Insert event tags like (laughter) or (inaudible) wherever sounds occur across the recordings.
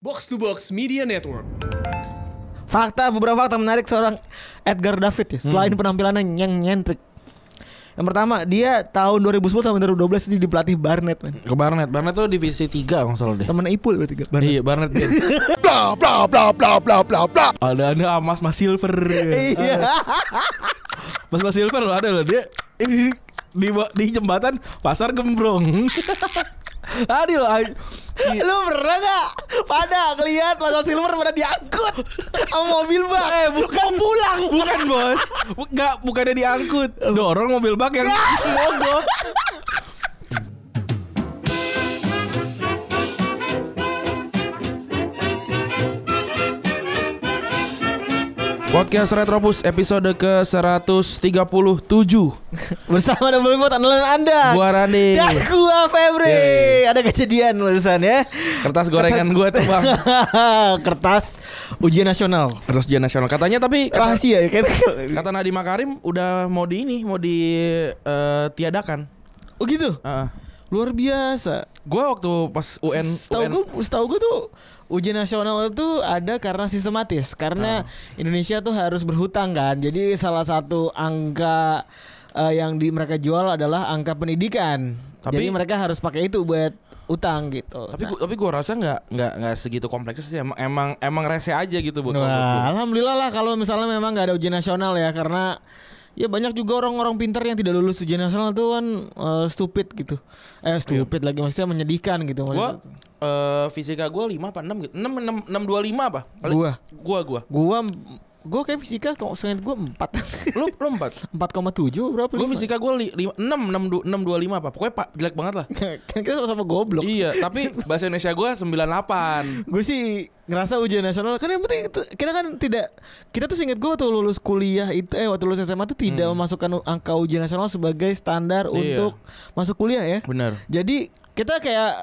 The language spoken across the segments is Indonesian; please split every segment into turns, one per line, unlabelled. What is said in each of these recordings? Box to Box Media Network.
Fakta beberapa fakta menarik seorang Edgar David ya.
Hmm.
Selain penampilannya yang nyentrik. Yang pertama, dia tahun 2010 sampai 2012 itu di pelatih Barnet, men.
Ke Barnet. Barnet tuh divisi 3 kalau nggak salah deh.
Temen Ipul berarti kan?
Iya, Barnet.
(laughs)
Bin.
Bla bla bla bla bla bla bla.
ada ada Mas Mas Silver.
Iya.
Ah, Mas Mas Silver loh ada loh dia ini di di jembatan Pasar Gembrong. (laughs) Tadi loh ay- si-
Lu pernah gak? Pada ngeliat Mas Silver pernah diangkut sama mobil bak.
Eh, bukan.
Mau pulang.
bukan bos, Bu- nggak bukannya diangkut, dorong mobil
(laughs)
bak yang mogok. Podcast Retropus episode ke 137
Bersama Double Bot andalan Anda.
Gua Randi
Dan gua Febri. Ada kejadian barusan ya.
Kertas Iya, gorengan gue tuh bang
(laughs) Kertas ujian nasional.
Kertas ujian nasional Katanya tapi kata,
Rahasia ya kan?
(laughs) kata Nadiem Makarim udah mau di ini Mau ditiadakan
Oh gitu.
Heeh.
Luar biasa.
Gue waktu pas UN
Setahu
UN
gue, setahu gue tuh ujian nasional itu ada karena sistematis, karena
Ah.
Indonesia tuh harus berhutang kan. Jadi salah satu angka eh, yang di mereka jual adalah angka pendidikan.
Tapi-
Jadi mereka harus pakai itu buat utang gitu.
tapi
Nah,
gua, tapi gua rasa nggak nggak nggak segitu kompleksnya sih emang emang emang rese aja gitu buat
Wah,
gua.
alhamdulillah lah kalau misalnya memang nggak ada ujian nasional ya karena ya banyak juga orang-orang pintar yang tidak lulus ujian nasional tuh kan eh, stupid gitu. Eh stupid lagi maksudnya menyedihkan gitu
Gua
maksudnya.
eh, fisika gua 5 apa 6 gitu. 6 6 625 apa?
Gua.
Gua gua.
Gua gua kayak fisika kalau seingat gua (laughs) 4.
Lu lu
(laughs)
4.
4,7 berapa?
Gua
lima?
fisika gua 6 6 625 apa? Pokoknya pak jelek banget lah.
(laughs) kan kita sama-sama goblok.
iya, tapi bahasa Indonesia gua 98.
Gue sih ngerasa ujian nasional kan yang penting itu- kita kan tidak kita tuh seinget gue waktu lulus kuliah itu eh waktu lulus SMA tuh tidak memasukkan angka ujian nasional sebagai standar
Hmm. Iya.
untuk masuk kuliah ya.
Bener.
Jadi kita kayak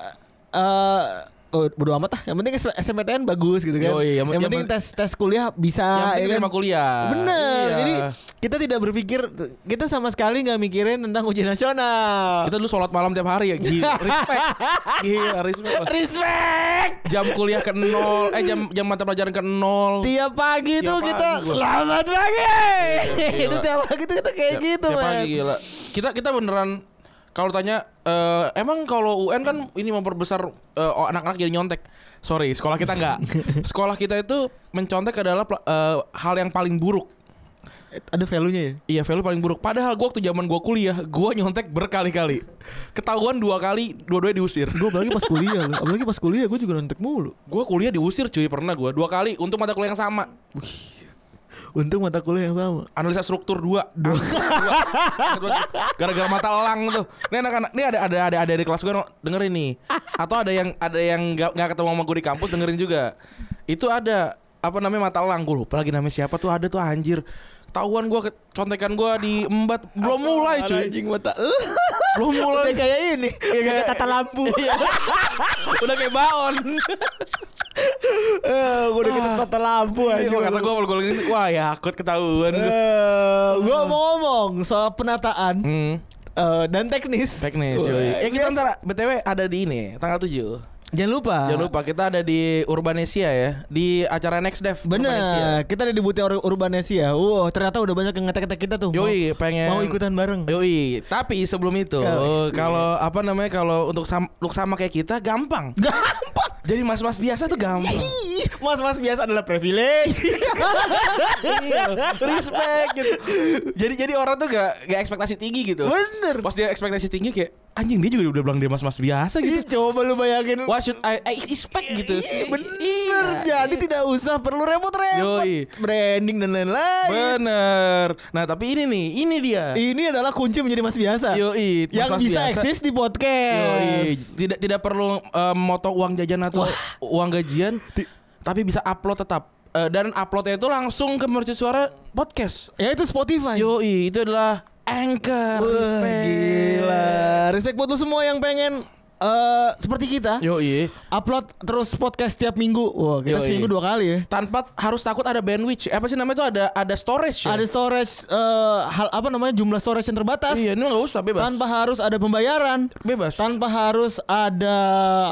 eh oh, bodo amat ah. Yang penting SMPTN bagus gitu kan.
Yoi,
yang,
yang- yang
penting
pen-
tes tes kuliah bisa
Yang penting
ya kan?
terima kuliah.
Bener.
Iya.
Jadi kita tidak berpikir kita sama sekali nggak mikirin tentang ujian nasional.
kita dulu sholat malam tiap hari ya.
(laughs)
Gila, respect. Gila, respect. lah.
respect.
Jam kuliah ke nol, eh jam jam mata pelajaran ke nol.
Tiap pagi tuh
Tiap pagi Iya,
kita
gua.
selamat pagi. (laughs)
Gila.
Itu tiap pagi tuh kita kayak
Tiap-
gitu,
tiap
man.
pagi, gila. Kita kita beneran kalau tanya eh, emang kalau UN kan ini memperbesar eh, oh, anak-anak jadi nyontek. Sorry, sekolah kita
(laughs)
enggak. sekolah kita itu mencontek adalah pla- eh, hal yang paling buruk.
Ada value-nya ya.
Iya, value paling buruk. Padahal gua waktu zaman gua kuliah, gua nyontek berkali-kali. Ketahuan dua kali, dua-duanya diusir.
Gue apalagi pas kuliah, loh. apalagi pas kuliah gue juga nontek mulu.
Gua kuliah diusir cuy pernah gua dua kali untuk mata kuliah yang sama.
Untung mata kuliah yang sama.
analisa struktur dua Dua. gara-gara mata elang tuh ini anak-anak ini ada ada ada ada di kelas gue no, dengerin nih atau ada yang ada yang nggak nggak ketemu sama gue di kampus dengerin juga itu ada apa namanya mata elang gue lupa lagi namanya siapa tuh ada tuh anjir ketahuan gue ke- contekan gue di embat belum mulai cuy
Anjing mata.
belum mulai
Udah kayak ini.
Iya,
Udah kayak tata lampu.
udah kayak (laughs) baon
Eh, Gue udah kayak tata lampu aja.
Ah. Iya, kata gue kalau gue lihat, wah ya akut ketahuan gue
Gue Eh, mau ngomong soal penataan
hmm,
eh, dan teknis.
teknis yoi. ya kita ntar btw ada di ini tanggal 7
Jangan lupa.
Jangan lupa kita ada di Urbanesia ya di acara Next Dev. Urbanesia.
Bener, kita ada di butik Ur- Urbanesia. Wow, ternyata udah banyak yang ngetek-ngetek kita tuh. Mau-
Yoi, pengen
mau ikutan bareng.
Yoi, tapi sebelum itu
Yoi.
kalau apa namanya kalau untuk sam untuk sama kayak kita gampang.
Gampang.
Jadi mas-mas biasa tuh gampang.
Ih, Mas-mas biasa adalah privilege.
Iya.
Iya,
Respect gitu. Jadi jadi orang tuh gak gak ekspektasi tinggi gitu.
Bener.
Pas dia ekspektasi tinggi kayak anjing dia juga udah bilang dia mas-mas biasa
Ih,
gitu.
Coba lu bayangin.
What should I, I expect gitu
Ih,
sih.
Iya,
Iya.
Bener, jadi tidak usah perlu repot-repot.
Yoi.
Branding dan lain-lain.
Bener. Nah, tapi ini nih, ini dia.
Ini adalah kunci menjadi mas biasa.
Yoi, mas-mas
Iya. yang bisa
biasa.
eksis di
Yoi.
podcast.
Tidak tidak perlu eh, motong uang jajan atau uang gajian, tapi bisa upload tetap. Eh, dan uploadnya itu langsung ke mercusuara Suara podcast.
Ya itu Spotify.
Yoi, itu adalah anchor.
Wah,
Respect.
gila. Respect buat lu semua yang pengen eh seperti kita
Yo iya.
upload terus podcast setiap minggu. Wah, kita
Yoi.
seminggu dua kali ya.
Tanpa harus takut ada bandwidth. Eh, Apa sih namanya itu ada ada storage. ya?
Ada storage eh, hal apa namanya jumlah storage yang terbatas.
Iya, ini nggak usah bebas.
Tanpa harus ada pembayaran.
bebas.
Tanpa harus ada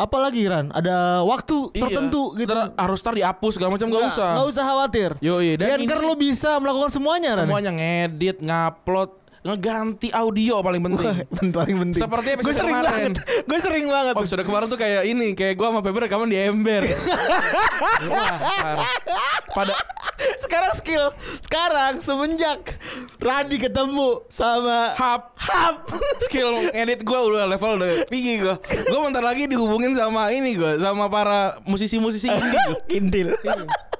apa lagi Ran? Ada waktu
Iya.
tertentu gitu.
Ntar harus tar dihapus segala macam nggak usah.
Nggak usah khawatir.
Yoi, dan
dan Anchor
ini-
lo bisa melakukan semuanya Ran.
Semuanya ngedit, ngupload, ngeganti audio paling penting.
Wah, (laughs) paling penting.
Seperti episode
gue sering
kemarin.
banget. Gue sering banget.
Oh episode kemarin tuh kayak ini Kayak gua sama Febri rekaman di ember Wah, parah. Pada
(laughs) Sekarang skill. Sekarang semenjak Radi ketemu sama
hap
Hap.
Skill edit gua udah level udah tinggi gua Gua bentar lagi dihubungin sama ini gua Sama para musisi-musisi indie gua
Kindil.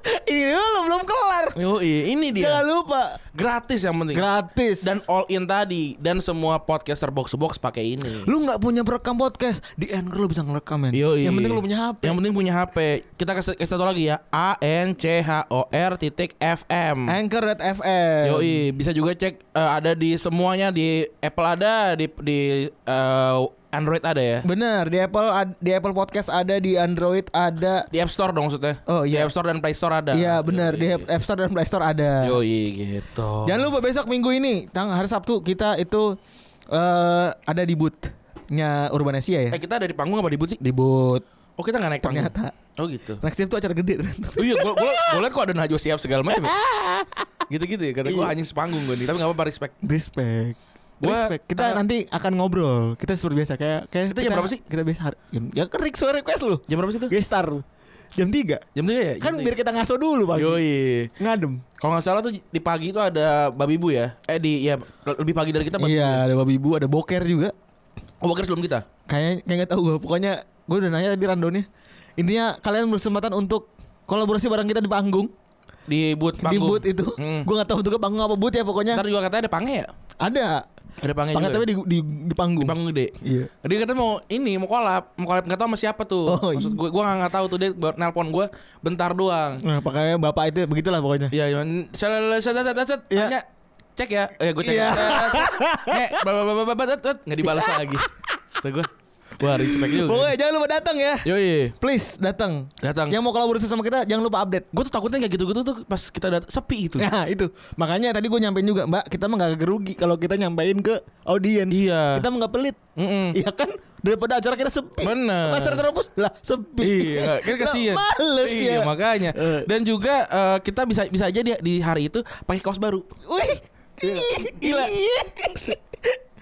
Ini dulu belum kelar.
Yoi, ini
Jangan
dia
lupa
Gratis yang penting
gratis.
Dan all in tadi Dan semua podcaster box-box pakai ini
lu nggak punya perekam podcast di Anchor lu bisa ngerekam men.
Yoi.
Yang penting lu punya HP.
Yang penting punya HP. Kita kasih, kasih satu lagi ya. A N C H O R titik F M.
Anchor.fm.
Yoi, bisa juga cek eh, ada di semuanya di Apple ada di di eh, Android ada ya.
Bener di Apple ad- di Apple Podcast ada di Android ada.
Di App Store dong maksudnya.
Oh,
Di
iya.
App Store dan Play Store ada.
Iya bener di
Yoi.
App Store dan Play Store ada.
Yoi gitu.
Jangan lupa besok minggu ini, tang hari Sabtu kita itu eh ada di bootnya Urban Asia ya.
Eh kita ada di panggung apa di booth sih?
Di boot.
Oh kita nggak naik panggung.
Ternyata.
Oh gitu.
Next Step tuh acara gede.
Oh iya, gue gue liat kok ada Najwa siap segala
(laughs)
macam. ya. Gitu-gitu ya. Kata gue
Iya.
anjing sepanggung gue nih. Tapi nggak apa-apa respect.
Respect.
Gua-
Respect. Kita
eh,
nanti akan ngobrol. Kita seperti biasa kayak kayak
Kita jam berapa sih?
Kita biasa hari- jam, ya kan request request lu.
Jam berapa sih itu?
Gestar lu. Jam 3.
Jam tiga ya?
Kan biar kita ngaso dulu Bang.
Yoi.
Ngadem.
Kalau nggak salah tuh di pagi itu ada babi bu ya. Eh di ya lebih pagi dari kita. babi bu ya?
Iya, ada babi ibu, ada boker juga.
Oh boker sebelum kita.
Kayaknya kayak enggak tahu gua. Pokoknya gua udah nanya tadi randonnya. Intinya kalian berkesempatan untuk kolaborasi bareng kita di panggung.
Di boot
di
panggung.
boot itu.
Hmm.
Gua nggak tahu bentuknya panggung apa boot ya pokoknya.
Ntar juga katanya ada pange ya.
ada.
Ada pange,
Pangat tapi
juga.
di, di, di panggung.
Di panggung gede.
Iya.
Dia katanya mau ini mau kolab, mau kolab nggak tahu sama siapa tuh.
Oh,
Maksud
iya.
gue gue nggak tahu tuh dia baru nelpon gue bentar doang.
Nah, pakainya bapak itu begitulah pokoknya.
Iya, cuman salah salah salah salah
Iya.
tanya cek ya. Eh gue cek.
Iya.
ya.
(laughs)
Nek, bla bla bla bla bla bla, nggak dibalas lagi. Tuh gue. Wah, respect juga.
Pokoknya jangan lupa datang ya.
Yoi.
Please datang.
Iya. Datang.
Yang mau kolaborasi sama kita jangan lupa update.
Gue tuh takutnya kayak gitu-gitu tuh pas kita datang sepi gitu. itu.
Nah itu makanya tadi gue nyampein juga Mbak kita mah gak gerugi kalau kita nyampein ke audiens.
Iya.
Kita mah gak pelit.
Mm-mm.
Iya kan daripada acara kita sepi.
Bener.
Pasar terobos lah sepi.
Iya,
(laughs)
kan
Lah,
kasihan.
Males
iya,
ya.
makanya.
Eh.
Dan juga eh, kita bisa bisa aja di, di hari itu pakai kaos baru.
Wih.
Iya.
Gila.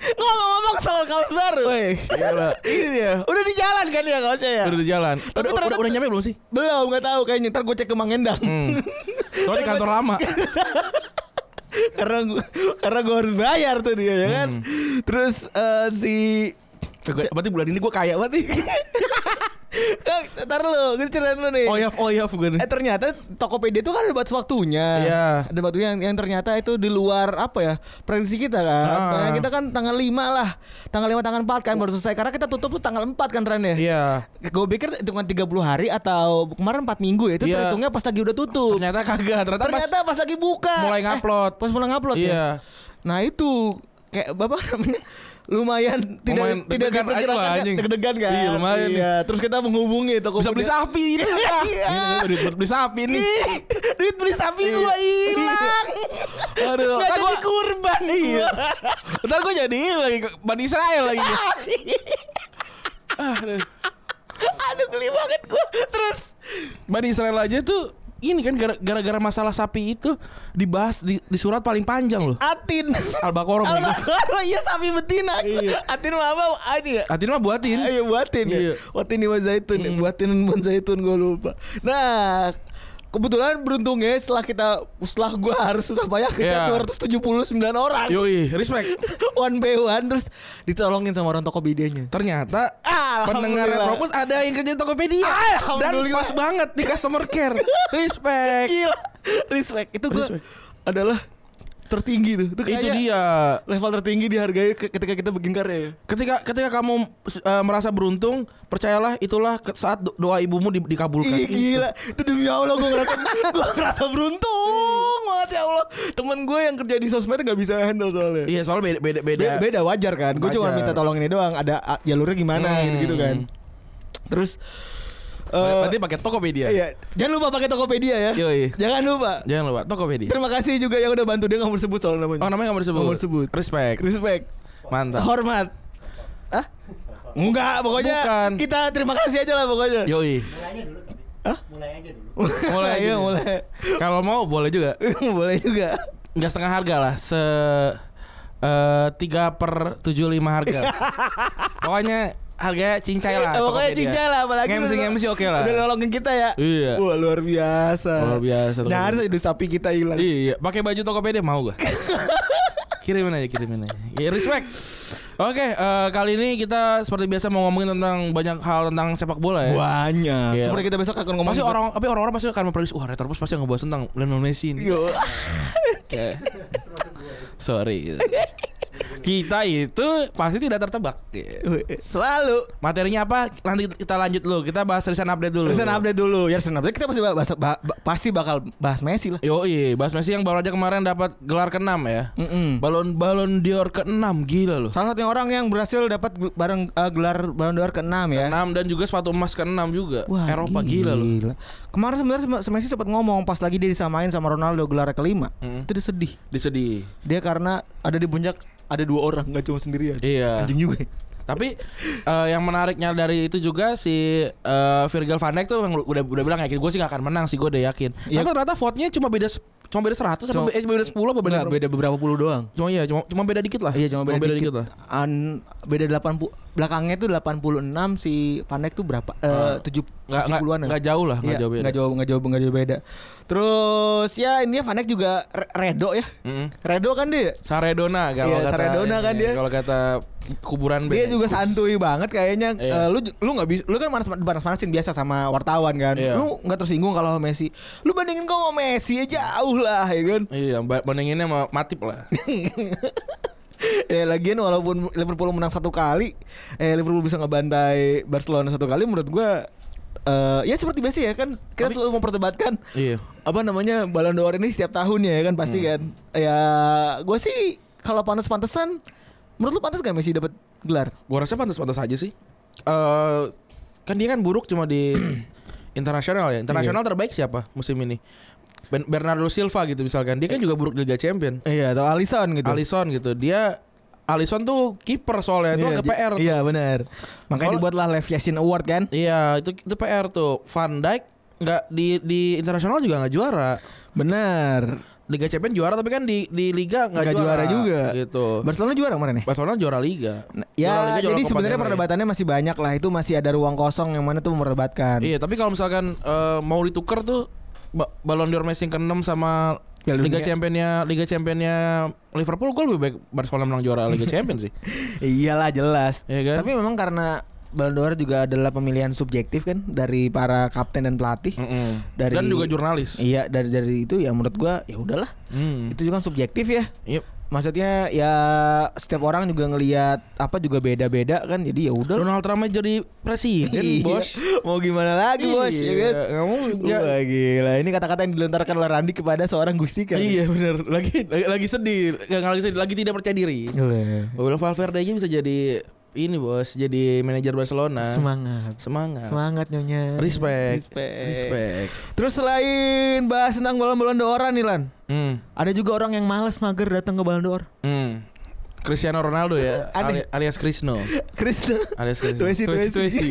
Ngomong-ngomong soal kaos baru.
Gila. Ini dia.
Udah di jalan kan ya kaosnya ya?
Iya, Udah di jalan.
Tapi
Udah, udah,
ternyata-
udah nyampe belum sih?
Belum nggak tahu kayaknya ntar gue cek ke Mang Endang (laughs)
Hmm. Soalnya di kantor lama.
karena gua, karena gue harus bayar tuh dia ya kan.
Hmm.
Terus eh, si
Gua- Berarti bulan ini gue kaya banget
(laughs)
nih.
Eh, ntar lu gue ceritain lu nih.
Oyaf oyaf gue nih.
Eh ternyata Tokopedia itu kan ada batas waktunya.
Iya.
Ada waktunya yang, yang ternyata itu di luar apa ya prediksi kita kan.
Ah.
Nah, kita kan tanggal 5 lah. Tanggal 5 tanggal 4 kan baru selesai karena kita tutup tuh tanggal 4 kan Ren ya.
Iya.
Gue pikir hitungan 30 hari atau kemarin 4 minggu ya itu
Iya.
terhitungnya pas lagi udah tutup.
Ternyata kagak. Ternyata, pas
Ternyata pas, lagi buka.
mulai ngupload.
Eh, pas mulai ngupload
Iya.
ya. Nah itu kayak bapak (laughs) namanya lumayan tidak
Lumayan
tidak
deg-degan.
diperkirakan
Aduh,
kan,
anjing.
deg-degan kan.
Iya, lumayan
Iya. Terus kita menghubungi toko
bisa beli sapi ini.
(laughs) Iya.
Ini duit buat beli sapi nih.
Ih, duit beli sapi gua
Iya.
hilang. (laughs)
Aduh,
Nggak
ntar
jadi
gua
kurban iya.
ntar gua jadi ini lagi ke- Ban Israel
(laughs)
lagi. Ah, aduh.
Aduh geli banget gua. Terus
Ban Israel aja tuh ini kan gara- gara-gara masalah sapi itu dibahas di, di surat paling panjang loh.
Atin.
Al-Baqarah.
Al-Baqarah iya sapi betina.
Iya.
Atin mama ini ya.
Atin mah buatin.
Ayo buatin ya.
Iya.
Buatin di zaitun ya. Buatin buat zaitun gue lupa. Nah, kebetulan beruntungnya setelah kita setelah gue harus susah payah kejar
Iya.
279 orang.
Yoi, respect.
(laughs) One by one terus ditolongin sama orang Tokopedianya.
Ternyata
Alhamdulillah.
pendengar Retropus ada yang kerja di Tokopedia dan
Alhamdulillah. Iya,
pas banget di customer care. respect.
Gila. (laughs) Respect. Itu gue
Respect.
adalah tertinggi tuh. Itu,
itu
kayak
dia
Level tertinggi dihargai ke- ketika kita bikin karya. ya.
ketika ketika kamu eh, merasa beruntung percayalah itulah ke- saat do- doa ibumu di- dikabulkan
Ih gila, itu demi Allah gue ngerasa
(laughs)
gue ngerasa beruntung banget ya Allah. Temen gue yang kerja di sosmed nggak bisa handle soalnya.
iya soal beda beda beda,
Beda, beda wajar kan. Gue cuma
Wajar.
minta tolong ini doang. Ada a- jalurnya gimana
Hmm.
gitu gitu kan. Terus eh,
berarti pakai Tokopedia
iya. jangan lupa pakai Tokopedia ya.
Yoi.
Jangan lupa.
jangan lupa Tokopedia
Terima kasih juga yang udah bantu dia nggak mau sebut soal namanya.
oh namanya nggak boleh disebut
Nggak boleh disebut.
respect
Respect.
mantap
Hormat. Hah? Enggak, pokoknya
Bukan.
kita terima kasih aja lah pokoknya.
yoi
mulainya dulu tapi mulai aja dulu
Mulai aja.
(laughs) Iya, mulai.
kalau mau boleh juga
Boleh juga.
nggak setengah harga lah se eh, tiga per tujuh lima harga (laughs) pokoknya harga cincai lah
Eh, pokoknya
Tokopedia.
cincai lah apalagi
MC
udah-
MC oke lah
Udah nolongin kita ya.
Iya.
Wah, luar biasa.
Luar biasa, luar
Nyaris
biasa.
aja duit sapi kita hilang.
Iya, pakai baju Tokopedia mau (laughs) gak? kirimin aja, kirimin aja. Ya, respect. Oke, eh, kali ini kita seperti biasa mau ngomongin tentang banyak hal tentang sepak bola ya.
Banyak.
Iya.
Seperti kita besok akan ngomong gitu.
Masih orang, tapi orang-orang pasti akan memprediksi, wah Retropus pasti ngebahas tentang Lionel Messi ini. (laughs)
Yo.
Kayak, Sorry. Kita itu pasti tidak tertebak.
Selalu.
Materinya apa? Nanti kita lanjut dulu. Kita bahas tulisan update dulu.
Resen update dulu. Ya resen update kita pasti bahas, bah- bah- pasti bakal bahas Messi lah.
Yo, bahas Messi yang baru aja kemarin dapat gelar ke-6 ya.
Mm-mm.
Balon Balon Dior ke-6 gila loh.
Salah satunya orang yang berhasil dapat gel- bareng eh, gelar Ballon d'Or ke-6 ya.
6 dan juga sepatu emas ke-6 juga. Eropa gila, loh.
Kemarin sebenarnya sem- se- Messi sempat ngomong pas lagi dia disamain sama Ronaldo gelar kelima.
Mm.
Itu dia sedih.
Disedih.
Dia karena ada di puncak ada dua orang nggak cuma sendirian.
Iya.
Anjing juga.
Tapi eh, yang menariknya dari itu juga si eh, Virgil van Dijk tuh yang udah udah bilang yakin gue sih gak akan menang sih gue udah yakin.
Iya.
Tapi ternyata vote-nya cuma beda se- cuma beda 100
Cuma-
cuma, eh, cuma beda 10 apa beda
Nggak, Ah, beda beberapa puluh doang.
Cuma iya cuma cuma beda dikit lah.
Iya cuma beda, dikit.
lah.
An, beda 80 belakangnya itu 86 si Van Dijk tuh berapa? Eh, tujuh
Nggak nggak
70-an ya?
nggak jauh lah,
Iya,
nggak jauh beda.
nggak jauh nggak jauh nggak jauh beda. Terus ya ini Van Dijk juga re- redo ya.
Mm-mm.
Redo kan dia.
Saredona kalau
Iya,
kata
Saredona kan
iya,
dia.
Kalau kata kuburan
Dia
band.
juga santuy banget kayaknya.
Iya.
Eh, lu lu nggak bisa lu kan manas panas manasin biasa sama wartawan kan.
Iya.
Lu nggak tersinggung kalau sama Messi. Lu bandingin kok sama Messi ya jauh lah ya kan. (laughs)
Iya, ba- bandinginnya sama Matip lah.
ya lagian walaupun Liverpool menang satu kali, eh Liverpool bisa ngebantai Barcelona satu kali menurut gua eh ya seperti biasa ya kan kita selalu memperdebatkan
iya.
apa namanya Ballon d'Or ini setiap tahunnya ya kan pasti kan. Ya gua sih kalau pantas-pantesan menurut lu pantas gak Messi dapat gelar?
Gua rasa pantas-pantas aja sih. Eh kan dia kan buruk cuma di
(clears throat)
internasional ya. Internasional
Iya.
terbaik siapa musim ini? Ben- Bernardo Silva gitu misalkan.
Eh.
Dia kan juga buruk di Liga Champion.
Iya, atau Alisson gitu.
Alisson gitu. Dia Alisson tuh kiper soalnya itu kan
Iya,
agak
j-
PR.
Iya, benar. Makanya
Soalnya-
dibuatlah Lev Yashin Award kan.
Iya, itu itu PR tuh. Van Dijk nggak di di internasional juga nggak juara.
Benar.
Liga Champion juara tapi kan di di liga nggak
Enggak juara, juga.
gitu.
Barcelona juara kemarin ya?
Barcelona juara liga. Juara
Ya,
liga, juara
jadi
Copa
sebenarnya
del Rey.
perdebatannya masih banyak lah. Itu masih ada ruang kosong yang mana tuh memperdebatkan.
Iya, tapi kalau misalkan eh, mau ditukar tuh ba- Ballon d'Or Messi yang ke-6 sama
Piala
Liga
Dunia.
Championnya Liga Championnya Liverpool gue lebih baik Barcelona menang juara Liga
(laughs)
Champion sih.
Iyalah jelas.
Iya kan?
Tapi memang karena Ballon d'Or juga adalah pemilihan subjektif kan dari para kapten dan pelatih.
Mm-mm.
Dari
Dan juga jurnalis.
Iya, dari dari itu ya menurut gua ya udahlah.
Hmm.
Itu juga kan subjektif ya.
Yep.
Maksudnya ya setiap orang juga ngelihat apa juga beda-beda kan. Jadi ya udah.
Donald Trump aja jadi presiden,
Iya.
Bos.
Mau gimana lagi bos? ya
Iya,
kan?
kamu ya,
Wah, gila. Ini kata-kata yang dilontarkan oleh Randi kepada seorang kan. Gustika.
Iya benar. Lagi, lagi lagi sedih, Nggak, nggak lagi sedih, lagi tidak percaya diri.
Iya. Boleh.
Gue bilang Valverde aja bisa jadi ini, Bos, jadi manajer Barcelona.
Semangat.
Semangat.
Semangat nyonya.
Respect.
Respect.
Respect.
Terus selain bahas tentang balon-balon doran nih Lan.
Hmm.
Ada juga orang yang malas mager datang ke balon dor.
Hmm. Cristiano Ronaldo ya, ali-
Aneh.
alias Krisno.
Kristen.
Alias Krisno.
Tuesi
Tuesi, tuesi.
tuesi.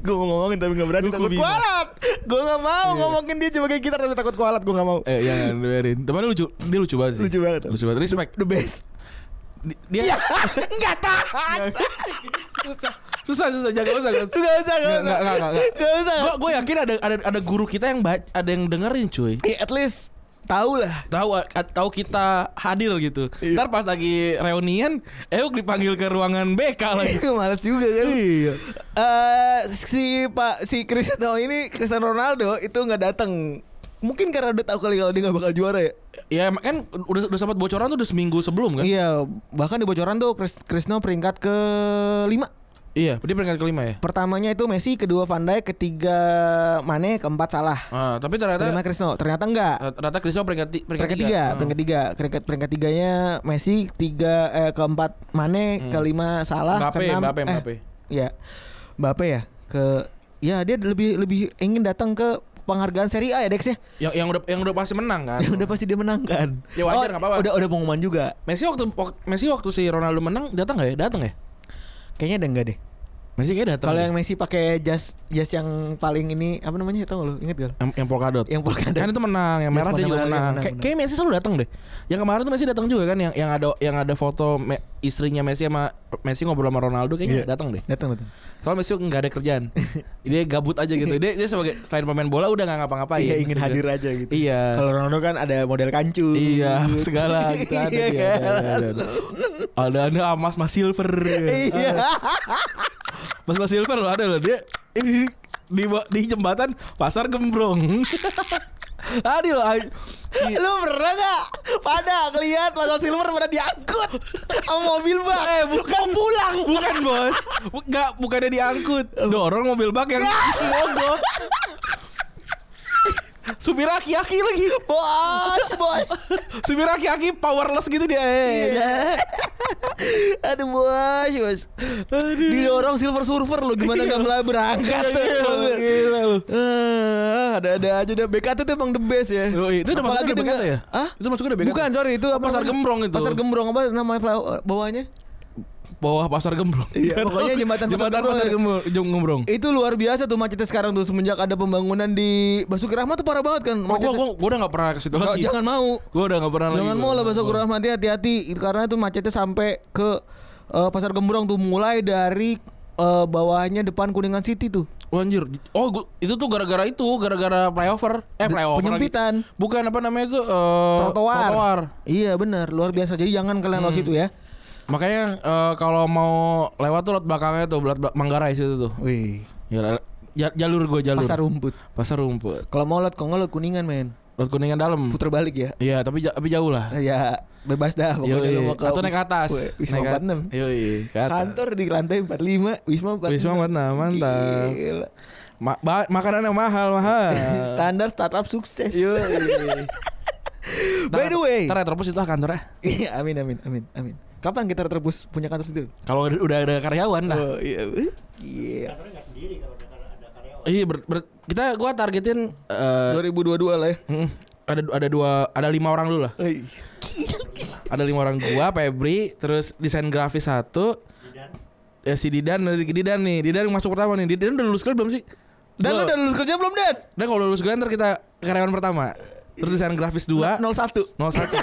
Gue mau ngomongin tapi gak berani
Buku
takut
Bima.
kualat. Iya. Gue gak mau ngomongin dia sebagai gitar tapi takut kualat gue gak mau.
Eh, jangan biarin. Temannya lucu, dia lucu banget sih.
Lucu banget.
Lucu banget. Respect.
The best.
Di-
(laughs)
Dia
Enggak tahan.
susah susah jaga usah.
Gak usah, gak usah.
Enggak enggak enggak.
Gak usah.
Gue gue yakin ada ada ada guru kita yang ba- ada yang dengerin cuy.
Ya, at least tahu lah.
Tahu tahu kita hadir gitu.
Iya.
Ntar pas lagi reunian, Euk dipanggil ke ruangan BK
Iya.
lagi.
(laughs) Males juga kan. Eh si Pak si Cristiano ini Cristiano Ronaldo itu nggak datang mungkin karena udah tahu kali kalau dia nggak bakal juara ya.
Ya em- kan udah udah sempat bocoran tuh udah seminggu sebelum kan?
Iya, bahkan di bocoran tuh Kris- Krisno peringkat ke lima.
Iya, dia peringkat kelima ya.
Pertamanya itu Messi, kedua Van Dijk, ketiga Mane, keempat Salah.
Ah, tapi ternyata
Kelima Krisno. Ternyata enggak.
ternyata Cristiano peringkat ti- peringkat,
Peringkat tiga,
Ah.
peringkat tiga, peringkat peringkat tiganya Messi, tiga eh, keempat Mane, kelima Salah,
Hmm. Mbappe,
keenam
Mbappe,
eh,
Mbappe.
ya, Mbappe ya ke ya dia lebih lebih ingin datang ke penghargaan Serie A ya Dex ya.
Yang yang udah yang udah pasti menang kan?
Ya (laughs) udah pasti dia menang kan.
Ya wajar, nggak apa-apa.
Udah udah pengumuman juga.
Messi waktu wak- Messi waktu si Ronaldo menang datang nggak ya? Datang ya?
Kayaknya ada enggak deh.
Messi kayak datang.
Kalau
deh.
yang Messi pakai jas jas yang paling ini apa namanya tau gak lu? Ingat gak? lu?
yang, yang polkadot.
Yang polkadot.
Kan itu menang, yang
Yes,
merah dia
menang,
juga
menang,
menang.
menang,
Kayak-
menang.
Kayak Messi selalu datang deh. Yang kemarin tuh Messi datang juga kan yang yang ada yang ada foto Me- istrinya Messi sama Messi ngobrol sama Ronaldo kayaknya
Iya.
datang deh.
Datang datang.
Soalnya Messi nggak ada kerjaan. dia gabut aja gitu. Dia, dia sebagai selain pemain bola udah nggak ngapa-ngapain.
Iya ingin
ya, Maksudnya.
hadir aja gitu.
Iya.
Kalau Ronaldo kan ada model kancu.
Iya
(laughs)
segala gitu ada
Iya
dia, ada, ada, ada, ada. ada ada ah, mas mas silver
Iya.
mas mas silver loh ada loh dia ini di di jembatan pasar gembrong (laughs) tadi loh ay- si-
Lu pernah gak pada ngeliat masa silver pernah diangkut sama mobil bak? Eh bukan
Oh,
Eh, pulang.
bukan (laughs) bos Bu- nggak bukannya diangkut dorong mobil bak
(laughs)
yang mogok supir aki-aki lagi
Bos, bos.
(laughs)
Iya,
supir aki-aki powerless gitu dia eh.
(laughs) Aduh bos, bos. Didorong silver surfer lu gimana gak malah
Iya,
berangkat?
Gila, gila lu
Eh, ada-ada aja deh. BKT tuh emang the best ya.
Yoi, itu udah masuk
Apalagi
udah
dengan-
BKT ya?
Hah?
Itu masuknya udah BKT?
Bukan, sorry itu
Oh,
apa
Pasar
namanya?
Gembrong itu.
Pasar Gembrong apa namanya flower- bawahnya?
bawah pasar gembrong.
Iya, pokoknya jembatan pasar
jembatan
Gembrong. ya. Iya,
pasar gembrong. Jom- gembrong. Oh,
Itu luar biasa tuh macetnya sekarang tuh semenjak ada pembangunan di Basuki Rahmat tuh parah banget kan.
Gua, gua,
Macetnya-
gua, gua udah gak pernah ke situ
Nggak,
lagi.
jangan mau.
Gua udah gak pernah lagi.
Jangan mau lah Basuki Rahmat hati-hati Itu karena itu macetnya sampai ke eh, Pasar Gembrong tuh mulai dari eh, bawahnya depan Kuningan City tuh.
Oh, anjir. Oh, gua- itu tuh gara-gara itu, gara-gara flyover. Eh, flyover. lagi.
penyempitan.
Bukan apa namanya itu eh,
trotoar. Iya benar, luar biasa. Jadi jangan kalian
Hmm.
lewat situ ya.
Makanya eh, kalau mau lewat tuh lewat belakangnya tuh, lewat belak- Manggarai situ tuh.
Wih,
Gila, ja- jalur gua
Ya,
jalur.
pasar rumput.
Pasar rumput.
Kalau mau lewat Kongol lewat Kuningan men.
Lewat Kuningan dalam.
Puter balik ya. (laughs)
Iya, tapi ja- tapi jauh lah.
Ya bebas dah pokoknya lu
Yoi.
mau ke
Atau naik ke atas.
Wis- Wisma Kan?
Naik ke-
46.
Yoi, ke atas.
Kantor di lantai 45 Wisma 46.
Wisma 46, mantap.
Gila.
Ma- ba- makanan yang mahal
(laughs)
mahal.
Standar startup sukses.
Yo.
By the way.
ntar Retropus itu lah kantornya.
Iya, amin amin amin amin. Kapan kita terus punya kantor sendiri?
Kalau ada- udah ada karyawan lah.
Oh iya. Iya.
Kantornya nggak sendiri kalau ada, ada karyawan.
Iya, ber- ber- kita gua targetin eh,
2022 lah ya.
mm, ada ada dua ada lima orang dulu lah.
Oi.
Ada lima orang gua, Febri, terus desain grafis satu,
Dan
ya si Didan, dari Didan nih, Didan yang masuk pertama nih. Didan udah lulus kuliah belum sih?
Dan lu
Belum.
udah lulus kerja belum, Dan?
Dan kalau udah lulus kuliah ntar kita karyawan pertama. Terus desain grafis dua,
01.
nol satu.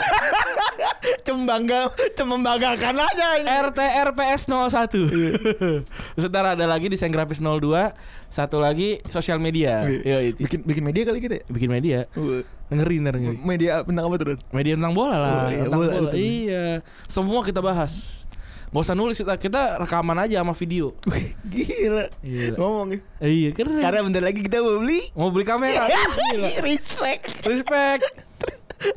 (laughs) Cembangga, cembanggakan aja Iya. ini.
RTRPS 01 Sementara ada lagi desain grafis 02 Satu lagi sosial media
Iya.
Yo, itu.
Bikin bikin media kali kita ya?
Bikin media Ngeri ntar ngeri
Media tentang apa tuh? Dan?
Media tentang bola lah
Oh, iya,
tentang
bola,
bola,
betul.
Iya Semua kita bahas Gak usah nulis kita Kita rekaman aja sama video
Wih, Gila.
Gila.
Ngomong ya.
Iya keren
Karena bentar lagi kita mau beli.
Mau beli kamera
(laughs)
Gila.
respect,
Respect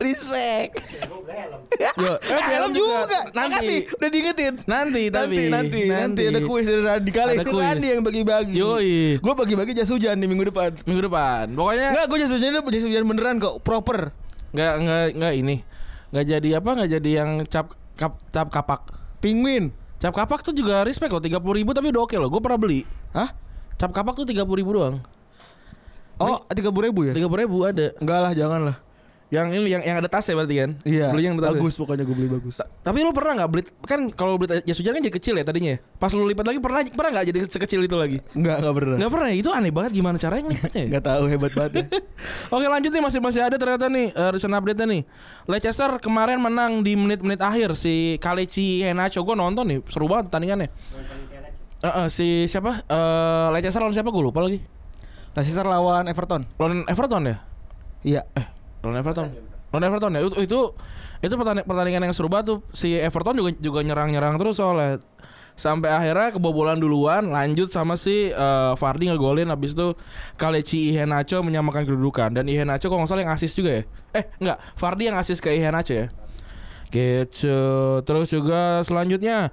respect.
gue beli helm.
Yo, eh,
Eh, helm juga. Makasih,
Nanti
udah diingetin.
Nanti
Nanti,
tapi
nanti, nanti, ada kuis dari Randi kali.
Ada
Ini
kuis.
Randi yang bagi-bagi.
Yoi.
Gue bagi-bagi jas hujan di minggu depan.
Minggu depan Pokoknya
Enggak, gue jas hujan itu jas hujan beneran kok, proper.
nggak nggak nggak ini nggak jadi apa nggak jadi yang cap kap, cap kapak
Penguin.
cap kapak tuh juga respect loh tiga ribu tapi udah oke loh gue pernah beli
Hah?
cap kapak tuh tiga ribu doang
Oh, tiga puluh ribu ya?
tiga ribu ada
Enggak lah, jangan lah.
yang ini yang yang ada tas ya berarti kan
Iya.
beli yang ada tas
bagus pokoknya gue beli bagus.
tapi lu pernah nggak beli kan kalau beli jas hujan kan jadi kecil ya tadinya ya? pas lu lipat lagi pernah pernah nggak jadi sekecil itu lagi
Enggak, enggak beneran.
nggak pernah ya? itu aneh banget gimana caranya ngelipatnya ya?
Nah, (laughs) Enggak tahu hebat banget. ya.
Oke lanjut nih masih masih ada ternyata nih eh, recent update nya nih Leicester kemarin menang di menit-menit akhir si Kalechi Henacho gue nonton nih seru banget pertandingannya. Eh, eh, si siapa Eh, Leicester lawan siapa gue lupa lagi
Leicester lawan Everton.
lawan Everton ya
Iya.
lawan Everton Lawan Everton ya itu itu, itu pertandingan, pertandingan yang seru banget tuh si Everton juga juga nyerang-nyerang terus soalnya sampai akhirnya kebobolan duluan lanjut sama si eh, Vardy ngegolin habis itu Kalechi Iheanacho menyamakan kedudukan dan Iheanacho kalau nggak salah yang asis juga ya eh enggak Vardy yang asis ke Iheanacho ya gitu terus juga selanjutnya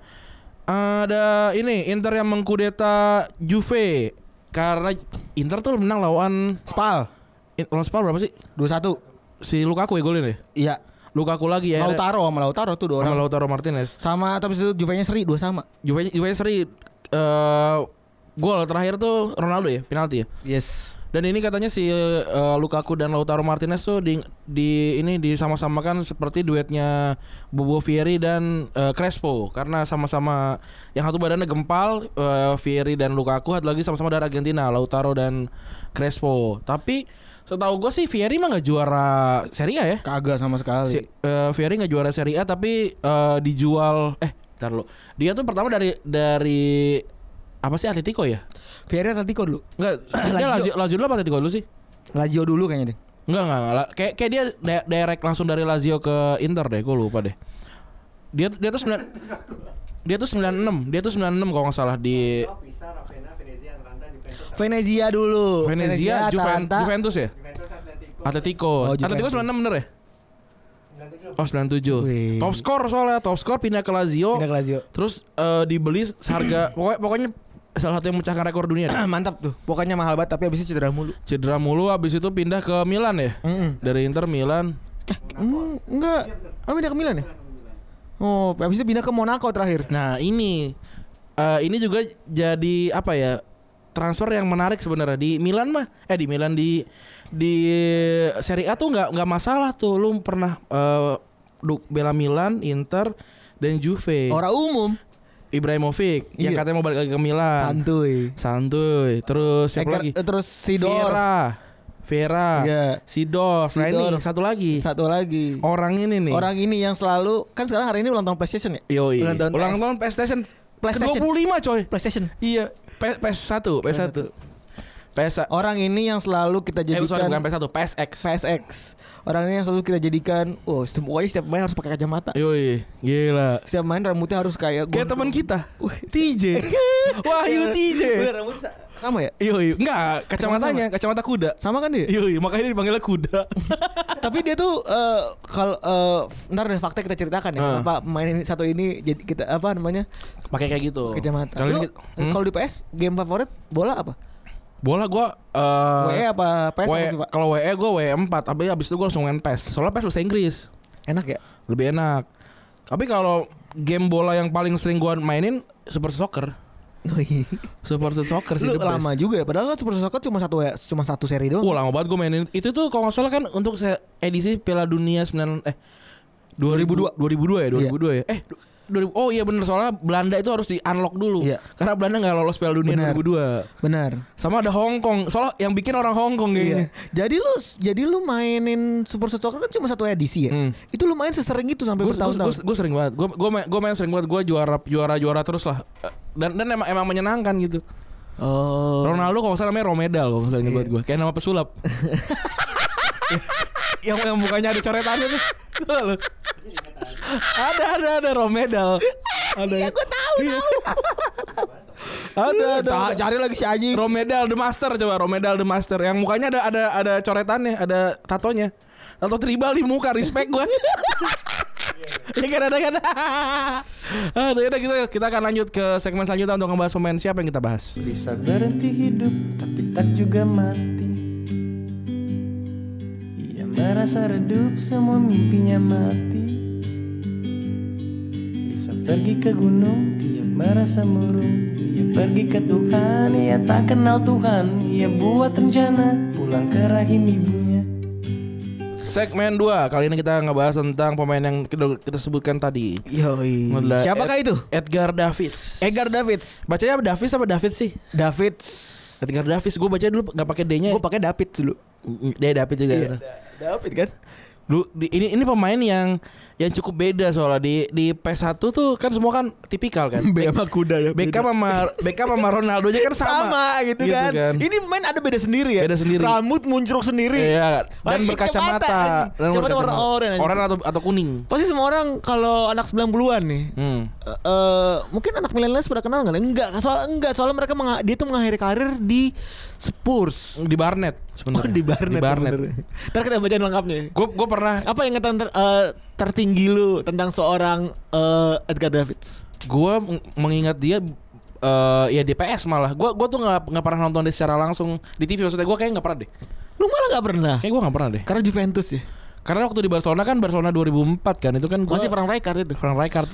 ada ini Inter yang mengkudeta Juve karena Inter tuh menang lawan
Spal
In- lawan Spal berapa sih
21.
si Lukaku ya golin ya
Iya.
Lukaku lagi ya
Lautaro sama Lautaro tuh dua orang.
sama Lautaro Martinez
Sama tapi itu Juve-nya seri dua sama.
Juve Juve seri eh, gol terakhir tuh Ronaldo ya penalti ya
Yes.
dan ini katanya si eh, Lukaku dan Lautaro Martinez tuh di, di ini disama-samakan seperti duetnya Bobo Fieri dan eh, Crespo karena sama-sama yang satu badannya gempal eh, Fieri dan Lukaku satu lagi sama-sama dari Argentina Lautaro dan Crespo tapi setahu gue sih Fieri mah nggak juara Serie A ya
Kagak sama sekali.
Si, eh, Fieri nggak juara Serie A tapi eh, dijual eh ntar lo dia tuh pertama dari dari apa sih Atletico ya
Fieri Atletico dulu. (clears throat)
Enggak, dia Lazio, Lazio dulu apa Atletico dulu sih?
Lazio dulu kayaknya deh.
Enggak, enggak, enggak. La- Kayak, kayak dia di- direct langsung dari Lazio ke Inter deh, gue lupa deh. Dia dia tuh 9 Dia tuh 96, dia tuh 96 kalau nggak salah di
Pisa, Ravenna, Venezia, Atalanta, Juventus,
Venezia dulu.
Venezia, Juven-
Atalanta.
Juventus ya?
Juventus, Atletico,
Atletico.
Oh, Juventus.
Atletico 96 bener ya?
97.
Oh, 97.
Wih.
Top score soalnya, top score pindah ke Lazio.
Pindah ke Lazio.
Terus eh, dibeli seharga pokoknya, pokoknya salah satu yang memecahkan rekor dunia. deh.
(clears throat) Mantap tuh. Pokoknya mahal banget tapi habisnya cedera mulu.
Cedera mulu habis itu pindah ke Milan ya. Dari Inter Milan.
Hmm, enggak. Oh, pindah ke Milan ya? Oh, habis itu pindah ke Monaco terakhir.
Nah ini eh, ini juga jadi apa ya transfer yang menarik sebenarnya di Milan mah eh di Milan di di Serie A tuh nggak nggak masalah tuh lu pernah eh, du- bela Milan, Inter dan Juve.
Orang umum.
Ibrahimovic yang
Iya.
katanya mau balik lagi ke
Ah.
Milan.
Santuy.
Santuy. Terus siapa
Eker-
lagi?
eh, Terus Sidor.
Vera. Vera.
Iya.
Sidor. Nah ini
Sidorf.
satu lagi.
Satu lagi.
Orang ini nih.
Orang ini yang selalu kan sekarang hari ini ulang tahun PlayStation ya?
Yoi.
Ulang tahun PS.
PlayStation.
PlayStation.
Ke-25 coy.
PlayStation.
Iya, P- PS1, PS1. PS
Orang ini yang selalu kita
Eh, sorry,
jadikan
bukan PS1, PSX.
PSX. Orang ini yang selalu kita jadikan, oh, setiap pokoknya setiap main harus pakai kacamata.
Yoi, gila.
Setiap main rambutnya harus kayak
Kayak teman kita.
(laughs)
TJ. Wahyu TJ.
Iya. Bener, rambutnya sa- sama ya?
Yoi, enggak, kacamatanya, kacamata kuda.
Sama kan dia?
Yoi, makanya dia dipanggilnya kuda.
(laughs) Tapi dia tuh eh, kalau eh, ntar deh fakta kita ceritakan ya.
Ah.
Apa pemain ini satu ini jadi kita apa namanya?
Pakai kayak gitu.
Kacamata.
Kalau
Lu,
ini- hmm?
kalau di PS game favorit bola apa?
bola gua
WE
eh
apa PS apa
W-
FIFA?
kalau WE gua WE 4, tapi abis itu gua langsung main PES. Soalnya PES bahasa Inggris.
Enak ya?
Lebih enak. Tapi kalau game bola yang paling sering gua mainin Super Soccer. Super Soccer sih
Lu
the best.
lama juga ya. Padahal kan Super Soccer cuma satu cuma satu seri doang.
Wah lama banget gue mainin itu tuh kalau nggak salah kan untuk se- edisi Piala Dunia 9 eh 2002 2002 ya
Iya.
2002 ya eh du- 2000 oh iya bener soalnya Belanda itu harus di unlock dulu
Iya.
karena Belanda nggak lolos Piala Dunia
Benar.
2002
Benar.
sama ada Hong Kong soalnya yang bikin orang Hong Kong kayaknya
Iya. Jadi lu jadi lu mainin Super Soccer kan cuma satu edisi ya.
Hmm.
Itu lu main sesering itu sampai
Gue gue
bertahun-tahun.
gue sering banget. Gue gue main, gua main sering banget. Gue juara juara juara terus lah. Eh, Dan dan emang emang menyenangkan gitu.
Oh.
Ronaldo kalau nggak salah namanya Romedal kalau nggak salah buat gue. Kayak nama pesulap. (laughs) yang yang mukanya ada coretannya tuh. Tahu lu? ada ada ada Romedal. Ada. Iya gue tahu ada ada.
Ta-
ada.
cari lagi si Aji.
Romedal the Master coba Romedal the Master yang mukanya ada ada ada coretannya, ada tatonya. Tato tribal di muka, respect gue. Iya kan ada kan. (laughs) Aduh, yaudah, kita kita akan lanjut ke segmen selanjutnya untuk membahas pemain siapa yang kita bahas.
Bisa berhenti hidup tapi tak juga mati Ia merasa redup semua mimpinya mati Bisa pergi ke gunung ia merasa murung Ia pergi ke Tuhan ia tak kenal Tuhan Ia buat rencana pulang ke rahim ibunya
Segmen 2 Kali ini kita ngebahas tentang pemain yang kita, kita sebutkan tadi
Yoi.
Adalah
Siapakah
Ed-
itu?
Edgar Davids
Edgar Davids.
Bacanya apa Davids apa David sih?
Davids.
Edgar Davids Gue baca dulu gak pakai D nya mm, Iya.
Gue pakai Davids dulu.
D David juga
Iya. David kan?
Du- di- ini ini pemain yang yang cukup beda soalnya di di PS1 tuh kan semua kan tipikal
(laughs)
kan.
Bea sama kuda ya.
Beckham sama Beckham sama Ronaldo aja kan sama.
sama gitu, kan. Ini main ada beda sendiri ya.
Beda sendiri.
Rambut muncruk sendiri.
Iya, dan
Pakai
berkacamata.
kacamata, anjing.
Dan
Kacamata
berkacamata.
orang-orang, anjing.
Orang atau atau kuning.
Pasti semua orang kalau anak 90-an nih
Hmm.
eh eh, mungkin anak milenial pada kenal nggak? Enggak, soal enggak, soalnya mereka menga- dia tuh mengakhiri karir di Spurs.
Di Barnet
Oh,
sebenarnya.
di Barnet. sebenarnya. Ntar kita bacain lengkapnya.
Gue gue pernah
Apa yang ter, eh, tertinggi lu tentang seorang eh, Edgar Davids?
gue mengingat dia eh ya DPS malah gue gue tuh nggak nggak pernah nonton dia secara langsung di TV maksudnya gue kayak nggak pernah deh
Lu malah nggak pernah.
kayak gue nggak pernah deh
Karena Juventus ya.
karena waktu di Barcelona kan Barcelona 2004 kan itu kan gua,
Masih perang Rijkaard itu.
Frank Rijkaard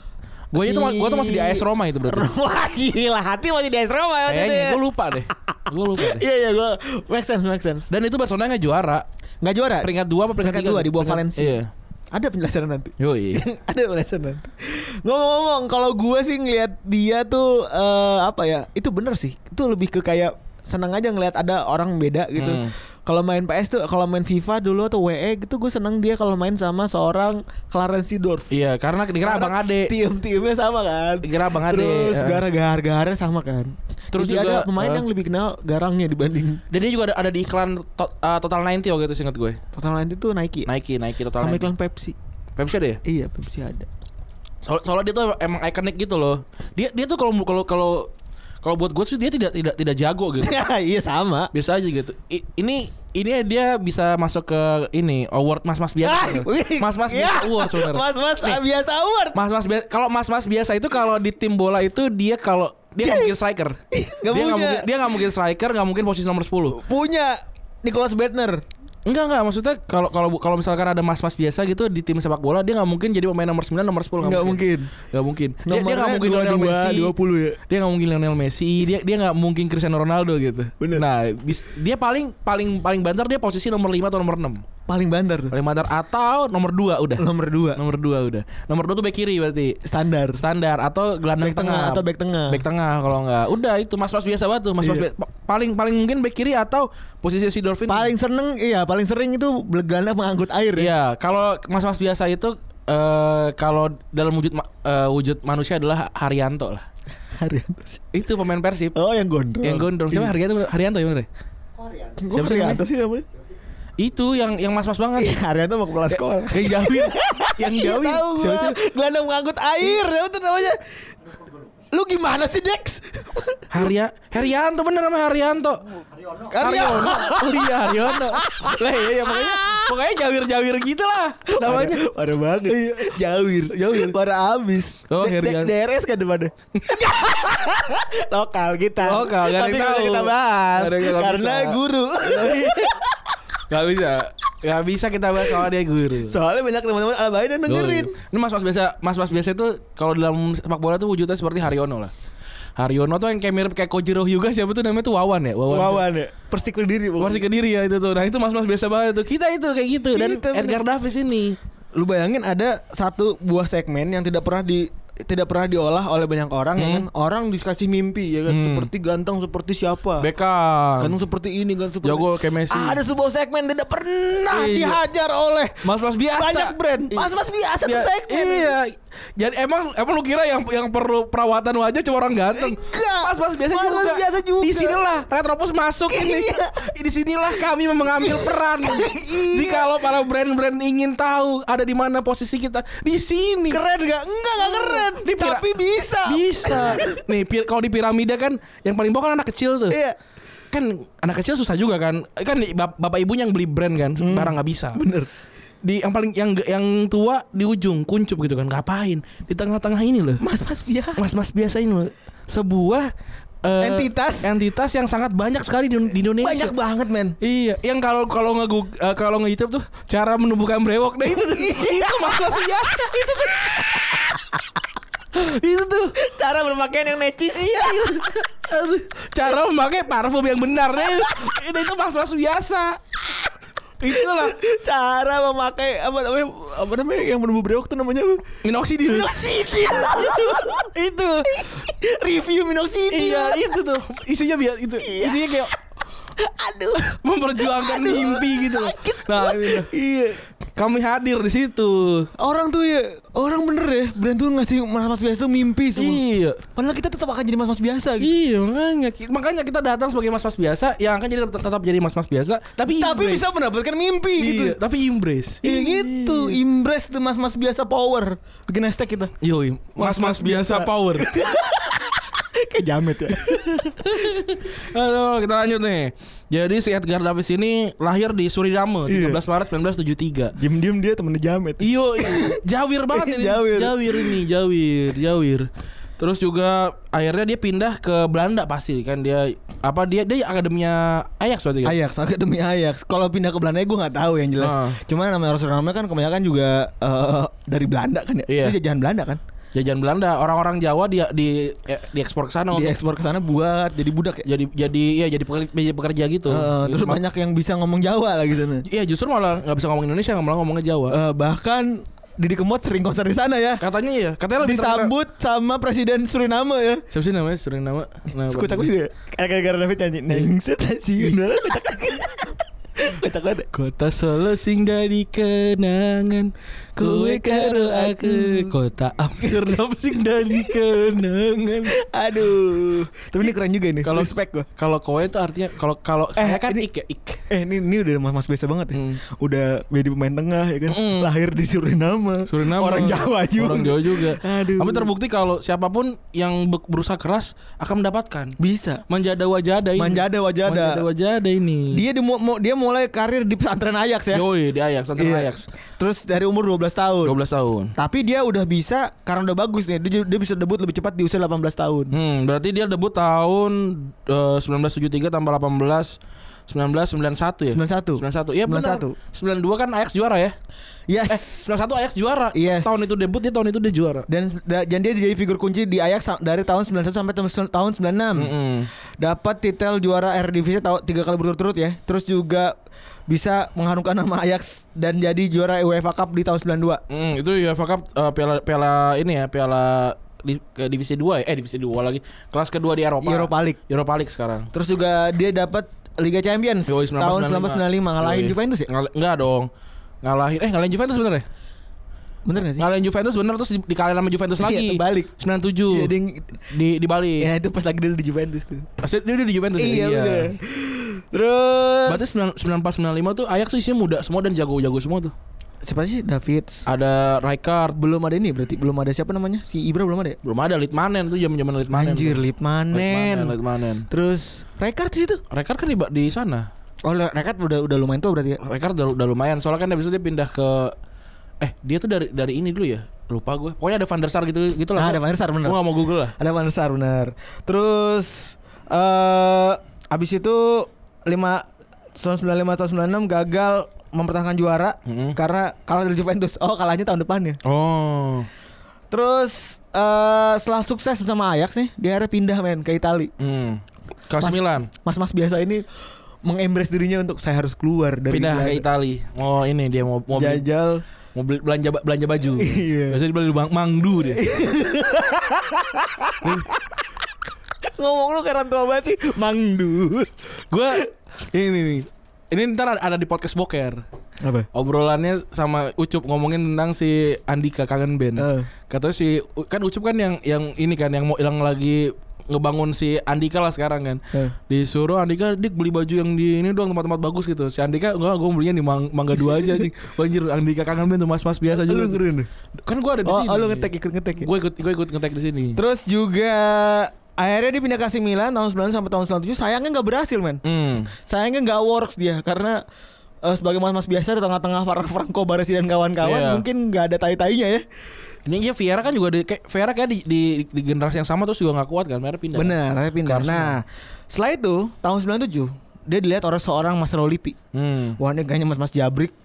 gue itu
Si-
gue tuh masih di AS Roma itu berarti
(laughs) Wah gila, hati masih di AS Roma waktu itu ya.
kayaknya gue lupa deh gue lupa deh
Iya iya gue make sense make sense.
dan itu Barcelona nggak juara
Nggak juara.
peringkat dua apa peringkat,
Peringkat
tiga
dua di bawah
Peringkat-
Valencia.
iya
Ada penjelasan nanti.
Yoi.
(laughs) ada perasaan nanti. Ngomong-ngomong, kalau gue sih ngelihat dia tuh eh, apa ya? Itu bener sih. Itu lebih ke kayak senang aja ngelihat ada orang beda gitu.
Hmm.
Kalau main PS tuh, kalau main FIFA dulu atau WE gitu, gue senang dia kalau main sama seorang Clarence Seedorf.
iya karena dikira abang ade
Tim-timnya sama kan.
Dikira Abang Ade,
Terus
eh.
gara-gara sama kan. Terus
Terus juga,
ada pemain
eh.
yang lebih kenal garangnya dibanding
dan dia juga ada, ada di iklan to- eh, total 90 waktu itu singkat gue
total lain itu Nike. ya?
Nike Nike total
sama
90
iklan Pepsi.
Pepsi ada ya
Iya, Pepsi ada. (laughs)
Soal, soalnya dia tuh emang ikonik gitu loh. Dia dia tuh kalau kalau kalau kalau buat gue sih dia tidak tidak tidak jago
(laughs)
gitu.
iya sama.
Biasa aja gitu. I- ini ini dia bisa masuk ke ini award mas-mas
Ah,
biasa. Iya, Mas-mas
iya.
biasa award sebenarnya.
Mas-mas
Nih.
biasa award.
Mas-mas biasa kalau mas-mas biasa itu kalau di tim bola itu dia kalau dia nggak mungkin striker.
Nggak
dia nggak
punya.
mungkin dia nggak mungkin striker, nggak mungkin posisi nomor 10.
Punya Nicholas Bettner.
Enggak enggak maksudnya kalau kalau kalau misalkan ada mas-mas biasa gitu di tim sepak bola dia nggak mungkin jadi pemain nomor 9, nomor 10
Nggak mungkin.
Nggak mungkin. Dia dia nggak
Nomornya
mungkin Lionel
22,
Messi.
20 ya.
Dia nggak mungkin Lionel Messi, dia dia nggak mungkin Cristiano Ronaldo gitu.
Bener.
Nah, dis- dia paling paling paling banter dia posisi nomor 5 atau nomor 6.
Paling banter tuh.
Paling banter atau nomor 2 udah.
Nomor 2
Nomor 2 udah. Nomor 2 tuh back kiri berarti.
standar.
Standar atau gelandang
Back tengah atau back tengah.
Back tengah kalau nggak. Udah itu mas-mas biasa banget tuh, mas-mas
Iya.
bi- pa- paling paling mungkin back kiri atau posisi si Dolphin.
Paling seneng iya, paling sering itu gelandang mengangkut air ya.
Iya, kalau mas-mas biasa itu eh kalau dalam wujud ma- eh, wujud manusia adalah Haryanto lah.
Haryanto sih.
Itu pemain Persib.
Oh, yang gondrong.
Yang gondrong
Iya.
siapa Haryanto Haryanto ya bener ya?
Korean.
Siapa
sih
Haryanto sih namanya?
Itu yang yang mas-mas
Iya,
banget. Eh,
Haryanto mau kepala sekolah.
yang jauhin,
(laughs)
yang
Iya,
jauhin.
tahu
Siapa
gua.
sih?
Gelandang mengangkut air. Siapa tuh namanya? Lu gimana sih Dex?
Harya, Haryanto bener namanya Haryanto.
Haryono.
(laughs) Karyono.
Oh iya Haryanto. Lah iya, iya, makanya makanya jawir-jawir gitu lah
(laughs)
namanya.
Parah banget. Iya. Jawir.
Jawir.
Parah abis.
Oh,
D-
Herian.
D- DRS kan depannya. (laughs) Lokal kita.
Lokal, nggak ada
Tapi
yang
nggak
tahu.
kita bahas.
Nggak ada yang- nggak
Karena
bisa.
guru. Iya.
Gak bisa. Gak bisa kita bahas soal dia guru.
(laughs) Soalnya banyak teman-teman albain yang dengerin.
Gol. Ini mas-mas biasa, mas-mas biasa itu kalau dalam sepak bola tuh wujudnya seperti Haryono lah. Haryono tuh yang kayak mirip kayak Kojiro Hyuga siapa tuh namanya tuh Wawan ya? Wawan.
Wawan ya. Persik berdiri. pokoknya.
Masih kediri ya itu tuh. Nah, itu mas-mas biasa banget tuh. Kita itu kayak gitu dan
Kita, bener.
Edgar Davis ini.
Lu bayangin ada satu buah segmen yang tidak pernah di tidak pernah diolah oleh banyak orang ya kan orang dikasih mimpi ya kan seperti ganteng seperti siapa
Beckham.
ganteng seperti ini ganteng seperti
Jago kayak Messi.
ada sebuah segmen tidak pernah
Iya.
dihajar oleh
Mas-mas biasa.
banyak brand
Iya.
mas-mas biasa tuh
Bia-
segmen
Iya. Jadi emang emang lu kira yang yang perlu perawatan wajah cuma orang ganteng.
Enggak.
Mas-mas biasa
Mas-mas
juga.
biasa juga.
Di sinilah Retropus masuk ini.
Iya.
Di sinilah kami mengambil peran.
Iya.
Jika kalau para brand-brand ingin tahu ada di mana posisi kita, di sini.
keren gak enggak gak keren
Di pira-
tapi bisa Iya.
Bisa.
(laughs)
Nih, pir- kalau di piramida kan yang paling bawah kan anak kecil tuh.
Iya.
Kan anak kecil susah juga kan. Kan di- bap- bapak ibunya yang beli brand kan,
Hmm.
barang nggak bisa. Bener. Di yang paling yang yang tua di ujung kuncup gitu kan ngapain di tengah-tengah ini loh
mas-mas biasa
mas-mas biasa ini loh sebuah eh,
Entitas.
entitas yang sangat banyak sekali di, di Indonesia
banyak banget men
Iya, yang kalau kalau nge eh, kalau nge YouTube tuh cara menumbuhkan brewok nah itu tuh, (laughs) itu mas-mas biasa itu
(laughs)
tuh. itu tuh
cara berpakaian yang necis (laughs)
iya, iya. Aduh, cara memakai parfum yang benar nah, itu, itu, itu mas-mas biasa itulah
cara memakai apa namanya apa namanya yang menumbuh brewok tuh namanya apa?
minoxidil
minoxidil
itu
(laughs) review minoxidil
iya itu tuh isinya biasa itu
Iya.
isinya kayak
aduh
memperjuangkan mimpi gitu loh.
sakit
nah
gua.
itu tuh.
iya
Kami hadir di situ.
Orang tuh ya, orang bener ya, brand tuh ngasih mas-mas biasa tuh mimpi semua.
Iya.
Padahal kita tetap akan jadi mas-mas biasa gitu.
Iya makanya makanya kita datang sebagai mas-mas biasa yang akan jadi tetap jadi mas-mas biasa tapi
Tapi
embrace.
bisa mendapatkan mimpi
Iya,
gitu.
tapi embrace.
Ya gitu, impress tuh mas-mas biasa power. Bikin hashtag kita.
Yoi, mas-mas biasa power.
Kayak jamet ya.
Halo, kita lanjut nih. Jadi si Edgar Davis ini lahir di
Iya.
Suriname 13 Maret 1973.
Diam-diam dia temennya jamet.
Iyo, jawir banget ini.
(laughs) Jawir.
Jawir ini, jawir, jawir. Terus juga akhirnya dia pindah ke Belanda pasti kan dia apa dia dia akademinya Ajax berarti kan?
Ajax, akademi Ajax. Kalau pindah ke Belanda gue nggak tahu yang jelas.
Ah.
Cuma nama Rotterdam kan kebanyakan juga eh, dari Belanda kan ya.
Iya.
Itu jajahan Belanda kan.
Jajan Belanda, orang-orang Jawa dia di eh, diekspor ke sana untuk
Diekspor ke sana buat jadi budak ya.
jadi jadi ya jadi pekerja, jadi pekerja gitu.
Eh,
Gitu,
terus
ma-
banyak yang bisa ngomong Jawa lagi sana.
Iya justru malah nggak bisa ngomong Indonesia malah ngomongnya Jawa.
Eh, bahkan Didi Kempot sering konser di sana ya.
katanya ya, katanya lebih terkenal-
Disambut sama presiden Suriname ya.
Siapa sih namanya Suriname? Nah,
Terus kocak juga ya. Kayak gara-gara David nyanyi Nengset sih Udah lah, kocak Kocak banget
Kota Solo singgah di kenangan Kue karo aku Kota Amsterdam singgah di kenangan
Aduh Tapi ini keren juga nih
Kalau-
Respect gua
Kalau kowe itu artinya Kalau kalau saya kan
Eh, ini-
ik ya ik
Eh ini, ini udah mas-mas biasa banget ya
Hmm.
Udah jadi pemain tengah ya kan
Mm.
Lahir di Suriname
Suriname
Orang Jawa juga
Orang Jawa juga
Aduh.
Tapi terbukti kalau siapapun yang be- berusaha keras Akan mendapatkan
Bisa
Manjada wajada ini
Manjada wajada.
Manjada wajada ini
Dia di, mu- mu- dia mulai karir di pesantren Ajax ya
Yoi di Ajax Santer
Iya.
Ajax
Terus dari umur 12 tahun
12 tahun
Tapi dia udah bisa Karena udah bagus nih Dia, dia bisa debut lebih cepat di usia 18 tahun
Hmm, berarti dia debut tahun eh, 1973 tambah 18 1991 ya?
91.
91. Iya benar.
91.
92 kan Ajax juara ya?
Yes
Eh, 91 Ajax juara.
Yes.
Tahun itu debut dia tahun itu dia juara.
dan da- dan dia jadi figur kunci di Ajax sa- dari tahun 91 sampai tahun- tahun 96.
Mm-mm.
Dapat titel juara Eredivisie tahun tiga kali berturut-turut ya. Terus juga bisa mengharumkan nama Ajax dan jadi juara UEFA Cup di tahun 92.
Hmm, itu UEFA Cup eh, piala piala ini ya, piala di, ke divisi 2 ya. Eh, divisi 2 lagi. Kelas kedua di Eropa.
Europa League.
Europa League sekarang.
Terus juga dia dapat Liga Champions
Yoi,
tahun 1995 ngalahin
Yoi.
Juventus ya?
Ngal- enggak dong. Ngalahin eh ngalahin Juventus bener ya?
Bener gak sih?
Ngalahin Juventus bener Nah, terus di- dikalahin sama Juventus
(laughs) Iya,
lagi.
terbalik.
97.
Iya, dia yang-
di di Bali.
Ya itu pas lagi dia di Juventus tuh.
Pasti dia udah di Juventus
Iya,
ya?
bener. Terus
Berarti 9- 94 95 tuh Ajax tuh isinya muda semua dan jago-jago semua tuh.
siapa sih David?
Ah. Ada Rijkaard,
Belum ada ini berarti belum ada siapa namanya? Si Ibra belum ada ya?
belum ada Litmanen tuh zaman-zaman Litmanen.
Anjir
tuh. Litmanen,
Litmanen.
Litmanen.
Terus Rekard sih itu.
Rijkaard kan di, ba- di sana.
Oh, Le- Rekard udah udah lumayan tua berarti ya.
Rijkaard udah, udah lumayan soalnya kan habis itu dia pindah ke eh dia tuh dari dari ini dulu ya. Lupa gue. Pokoknya ada Van der Sar gitu gitu lah.
Nah, ada Van der Sar, bener.
Gue gak mau Google lah.
Ada Van der Sar benar. Terus eh abis itu 5 tahun 95 tahun 96 gagal mempertahankan juara
Mm-mm.
karena kalah dari Juventus. Oh, kalahnya tahun depannya.
Oh.
Terus eh setelah sukses bersama Ajax nih, dia akhirnya pindah men ke Itali.
Hmm. Kelas
Mas-
Milan
Mas-mas biasa ini mengembrace dirinya untuk saya harus keluar dari
pindah ke
Belanda."
Itali. Oh, ini dia mau mau beli-
Jajal
mau beli- belanja ba- belanja baju.
Iya.
Biasanya beli bang, mangdu dia.
Ngomong lu kayak orang tua banget sih Mangdu
gue ini nih ini ntar ada, ada di podcast boker
Apa?
obrolannya sama Ucup ngomongin tentang si Andika kangen band
Eh.
katanya si kan Ucup kan yang yang ini kan yang mau yang lagi ngebangun si Andika lah sekarang kan
Eh.
disuruh Andika dik beli baju yang di ini doang tempat-tempat bagus gitu si Andika enggak gue belinya di Mang- Mangga Dua aja anjing (laughs) banjir Andika kangen band tuh mas-mas biasa
Lu
juga
ngeri nih.
kan gue ada di
Oh,
sini
oh, lu ngetek ikut ngetek ya?
gue ikut gue ikut ngetek di sini
Terus juga akhirnya dia pindah ke AC Milan tahun 90 sampai tahun 97 sayangnya nggak berhasil men.
Hmm.
Sayangnya nggak works dia karena eh, sebagai mas-mas biasa di tengah-tengah para (laughs) Franco Baresi dan kawan-kawan
Iya.
mungkin nggak ada tai-tainya ya.
Ini ya Viera kan juga di, kayak Viera kayak di, di, di generasi yang sama terus juga nggak kuat kan, mereka pindah.
Iya, Bener, akhirnya pindah.
Harus
Nah, setelah itu tahun 97 dia dilihat orang seorang Mas Rolipi.
Hmm.
Wah ini kayaknya mas-mas jabrik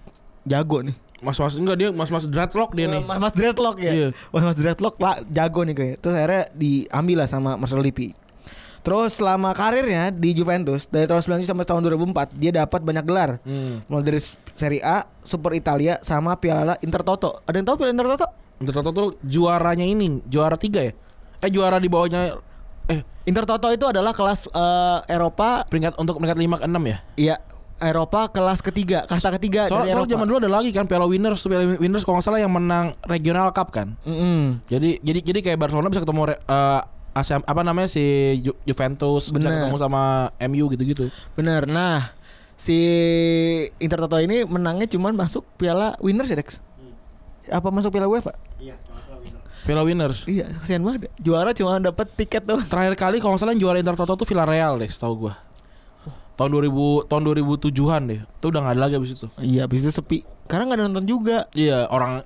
jago nih.
Mas mas enggak dia mas mas dreadlock dia nih.
Mas, mas dreadlock ya.
Iya.
Mas, mas dreadlock lah jago nih kayaknya. Terus akhirnya diambil lah sama Marcelo Lippi. Terus selama karirnya di Juventus dari tahun 90 sampai tahun 2004 dia dapat banyak gelar.
Hmm.
Mulai dari Serie A, Super Italia sama Piala Intertoto. Ada yang tahu Piala Intertoto?
Dreadlock tuh juaranya ini juara tiga ya? Eh juara di bawahnya eh
Intertoto itu adalah kelas eh, Eropa
peringkat untuk peringkat lima ke enam ya?
Iya Eropa kelas ketiga, kasta ketiga
Soal,
Eh, dari
soal
Eropa.
zaman dulu ada lagi kan Piala Winners tuh Piala Winners kalau nggak salah yang menang regional cup kan.
Mm-mm.
Jadi jadi jadi kayak Barcelona bisa ketemu re- eh, ASEAN- apa namanya si Ju- Juventus bisa
Bener.
ketemu sama MU gitu-gitu.
Bener. Nah, si Inter Toto ini menangnya cuman masuk Piala Winners ya, Dex? Apa masuk Piala UEFA?
Iya, kalau nggak salah winner.
Piala Winners.
Iya, kesian banget. Juara cuma dapat tiket doang.
Terakhir kali kalau nggak salah yang juara Inter Toto tuh Villarreal deh, tahu gua. Tahun 2000 tahun 2007-an deh. Itu udah nggak ada lagi abis itu.
Iya, habis itu sepi. Karena nggak ada nonton juga.
Iya, orang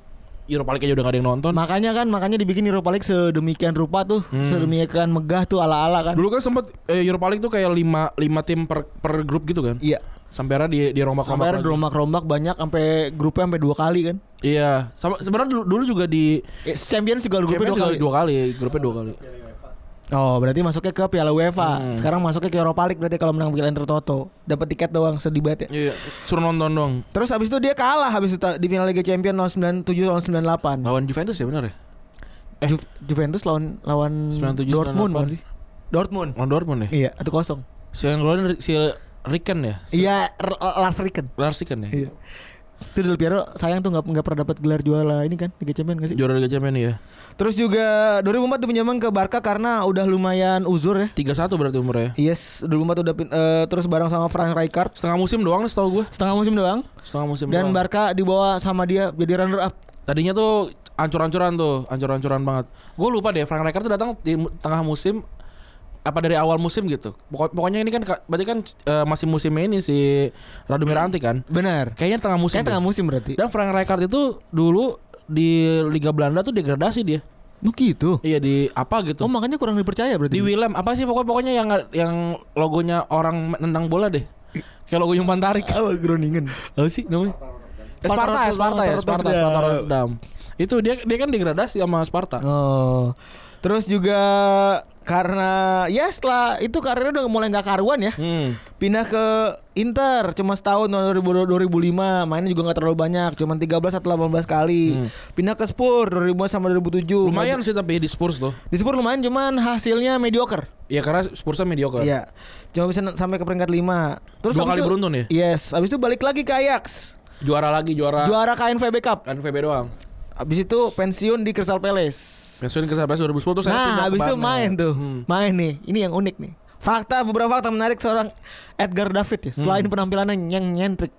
Europa League aja udah gak ada yang nonton.
Makanya kan, makanya dibikin Europa League sedemikian rupa tuh, sedemikian megah tuh ala-ala kan.
Dulu kan sempet eh, Europa League tuh kayak 5 5 tim per per grup gitu kan.
Iya.
Sampai era di di rombak
Sampai ada rombak-rombak banyak sampai grupnya sampai dua kali kan.
Iya, sama sebenarnya dulu, dulu juga di
Eh, Champions juga grupnya
Champions
dua
juga
kali.
dua kali, grupnya dua kali.
Oh, berarti masuknya ke Piala UEFA. Sekarang masuknya ke Europa League berarti kalau menang Piala Inter Toto. Dapat tiket doang sedih banget ya.
Iya, suruh nonton dong.
Terus abis itu dia kalah habis itu ta- di final Liga Champions lawan 97 lawan 98.
Lawan Juventus ya benar ya? eh.
Ju- Juventus lawan lawan
97,
Dortmund
98.
bukan sih? Dortmund.
Lawan Dortmund
Iya,
ya?
1-0.
Si yang ngeluarin si Riken ya? Si
Iya, R- Lars Ricken.
Lars Riken ya?
Iya. Itu Del Piero sayang tuh nggak nggak pernah dapat gelar juara ini kan Liga Champions nggak sih?
Juara Liga Champions ya.
Terus juga 2004 tuh pinjaman ke Barca karena udah lumayan uzur ya.
3-1 berarti umurnya.
Yes, 2004 udah pin- eh, terus bareng sama Frank Rijkaard
Setengah musim doang nih setahu gue.
setengah musim doang
Setengah musim
dan
doang.
Barca dibawa sama dia jadi runner up.
Tadinya tuh ancur-ancuran tuh, ancur-ancuran banget. Gue lupa deh Frank Rijkaard tuh datang di mu- tengah musim apa dari awal musim gitu. Pokok- pokoknya ini kan ka- berarti kan eh, masih musim ini si Radomir Antik kan.
Benar.
Kayaknya tengah musim.
Kayak tengah
deh.
musim berarti.
Dan Frank Rijkaard itu dulu di Liga Belanda tuh degradasi dia.
Oh gitu.
Iya di apa
Oh
gitu.
makanya kurang dipercaya berarti.
di Willem apa sih pokoknya pokoknya yang yang logonya orang nendang bola deh kayak logo umpan tarik
(laughs) Apa Groningen?
apa sih namanya Eh, Sparta ya Sparta ya Sparta Sparta Rotterdam itu dia dia kan degradasi sama Sparta
Oh. Terus juga karena ya setelah itu karirnya udah mulai nggak karuan ya.
hmm.
Pindah ke Inter cuma setahun tahun 2000 2005 mainnya juga nggak terlalu banyak cuma 13 atau 18 kali pindah ke Spurs 2000 sama 2007
Hmm. lumayan sih tapi di Spurs tuh
di Spurs lumayan cuman hasilnya mediocre
ya karena Spursnya mediocre
Iya cuma bisa na- sampai ke peringkat 5 terus
Dua
habis
kali
itu-
beruntun ya? Ah.
yes habis itu balik lagi ke Ajax
juara lagi juara
juara KNVB Cup
kan VB doang
habis itu pensiun di Crystal Palace
Pensiun ke Sabres 2010 tuh saya pindah
Nah,
ke
habis itu
Barnet.
main tuh.
Hmm.
Main nih. Ini yang unik nih. Fakta beberapa fakta menarik seorang Edgar David ya. Selain
Hmm.
penampilannya yang nyentrik.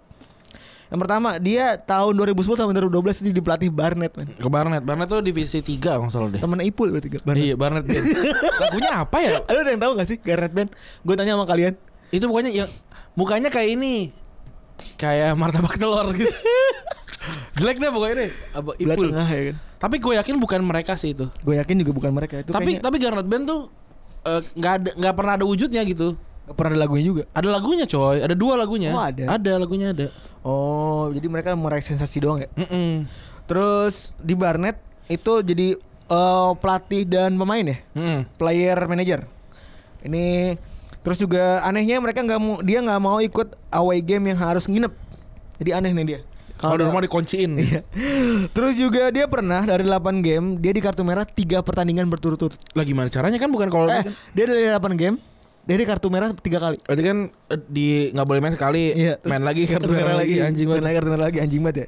Yang pertama, dia tahun 2010 sampai 2012 itu di pelatih Barnet, men.
Ke Barnet. Barnet tuh divisi 3 kalau nggak salah deh.
Temennya Ipul berarti Gar- Barnet.
Iya, Barnet. Band. Lagunya apa ya?
Lu ada yang tahu gak sih Garnet Band? Gue tanya sama kalian.
Itu pokoknya yang mukanya kayak ini. Kayak martabak telur
(laughs)
gitu. Jelek deh pokoknya deh. Apa
Belah
Ipul.
tengah ya kan.
Tapi gue yakin bukan mereka sih itu.
Gue yakin juga bukan mereka itu. kayaknya
tapi tapi Garnet Band tuh eh, nggak ada nggak pernah ada wujudnya gitu.
nggak pernah ada lagunya juga.
Ada lagunya coy, ada dua lagunya.
Oh, ada.
Ada lagunya ada.
Oh, jadi mereka meraih sensasi doang ya.
Mm-mm.
Terus di Barnet itu jadi eh, pelatih dan pemain ya.
Mm-mm.
player manager. Ini terus juga anehnya mereka nggak mau dia nggak mau ikut away game yang harus nginep. Jadi aneh nih dia.
Kalau di
dia-
rumah (laughs) dikunciin.
Iya. (laughs) Terus juga dia pernah dari 8 game dia di kartu merah 3 pertandingan berturut-turut.
Lah gimana caranya kan bukan kalau
Eh, dia dari 8 game dia di kartu merah 3 kali.
berarti kan eh, di nggak boleh main sekali,
terus
Iya, main lagi kartu merah lagi anjing
main
banget.
lagi kartu merah lagi anjing banget ya.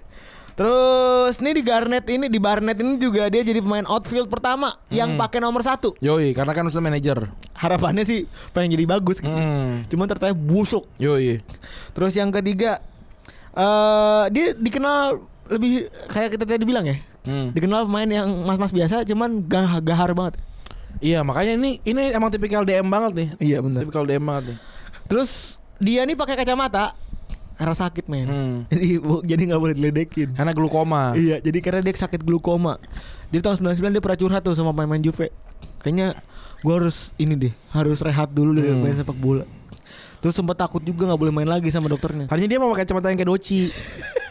Terus nih di Garnet ini di Barnet ini juga dia jadi pemain outfield pertama yang
Hmm.
pakai nomor satu.
Yoi, karena kan udah manajer.
Harapannya sih pengen jadi bagus. gitu.
Hmm.
Cuman ternyata busuk.
Yoi.
Terus yang ketiga eh dia dikenal lebih kayak kita tadi bilang ya.
Hmm.
Dikenal pemain yang mas-mas biasa cuman gah gahar banget.
Iya, makanya ini ini emang tipikal DM banget nih.
Iya
Tipikal DM banget nih.
Terus dia nih pakai kacamata karena sakit men.
Hmm. Ah.
Jadi bu- jadi nggak boleh diledekin.
Karena glukoma.
Iya, jadi karena dia sakit glukoma. Jadi tahun 99 dia pernah curhat tuh sama pemain Juve. Kayaknya gua harus ini deh, harus rehat dulu dari
Hmm.
main sepak bola. Terus sempat takut juga nggak boleh main lagi sama dokternya. (laughs)
Tadinya dia mau pakai kacamata yang kayak doci.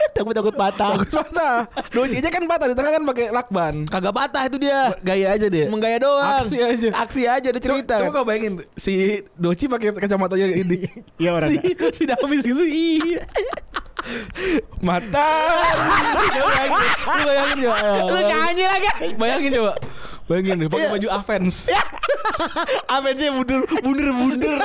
takut takut patah.
Bagus patah. Doci aja kan patah di tengah kan pakai lakban.
Kagak patah itu dia.
Gaya aja dia.
Menggaya doang.
Aksi aja.
Aksi aja ada cerita.
Coba, coba kau bayangin si Doci pakai kacamatanya ini.
(laughs) Iya, orang
si si Davis gitu. Ih. Mata. Coba bayangin. Lu bayangin coba.
Lu nyanyi lagi.
Bayangin coba. Bayangin
Iya.
deh pakai baju Avens.
Apa sih mundur mundur mundur.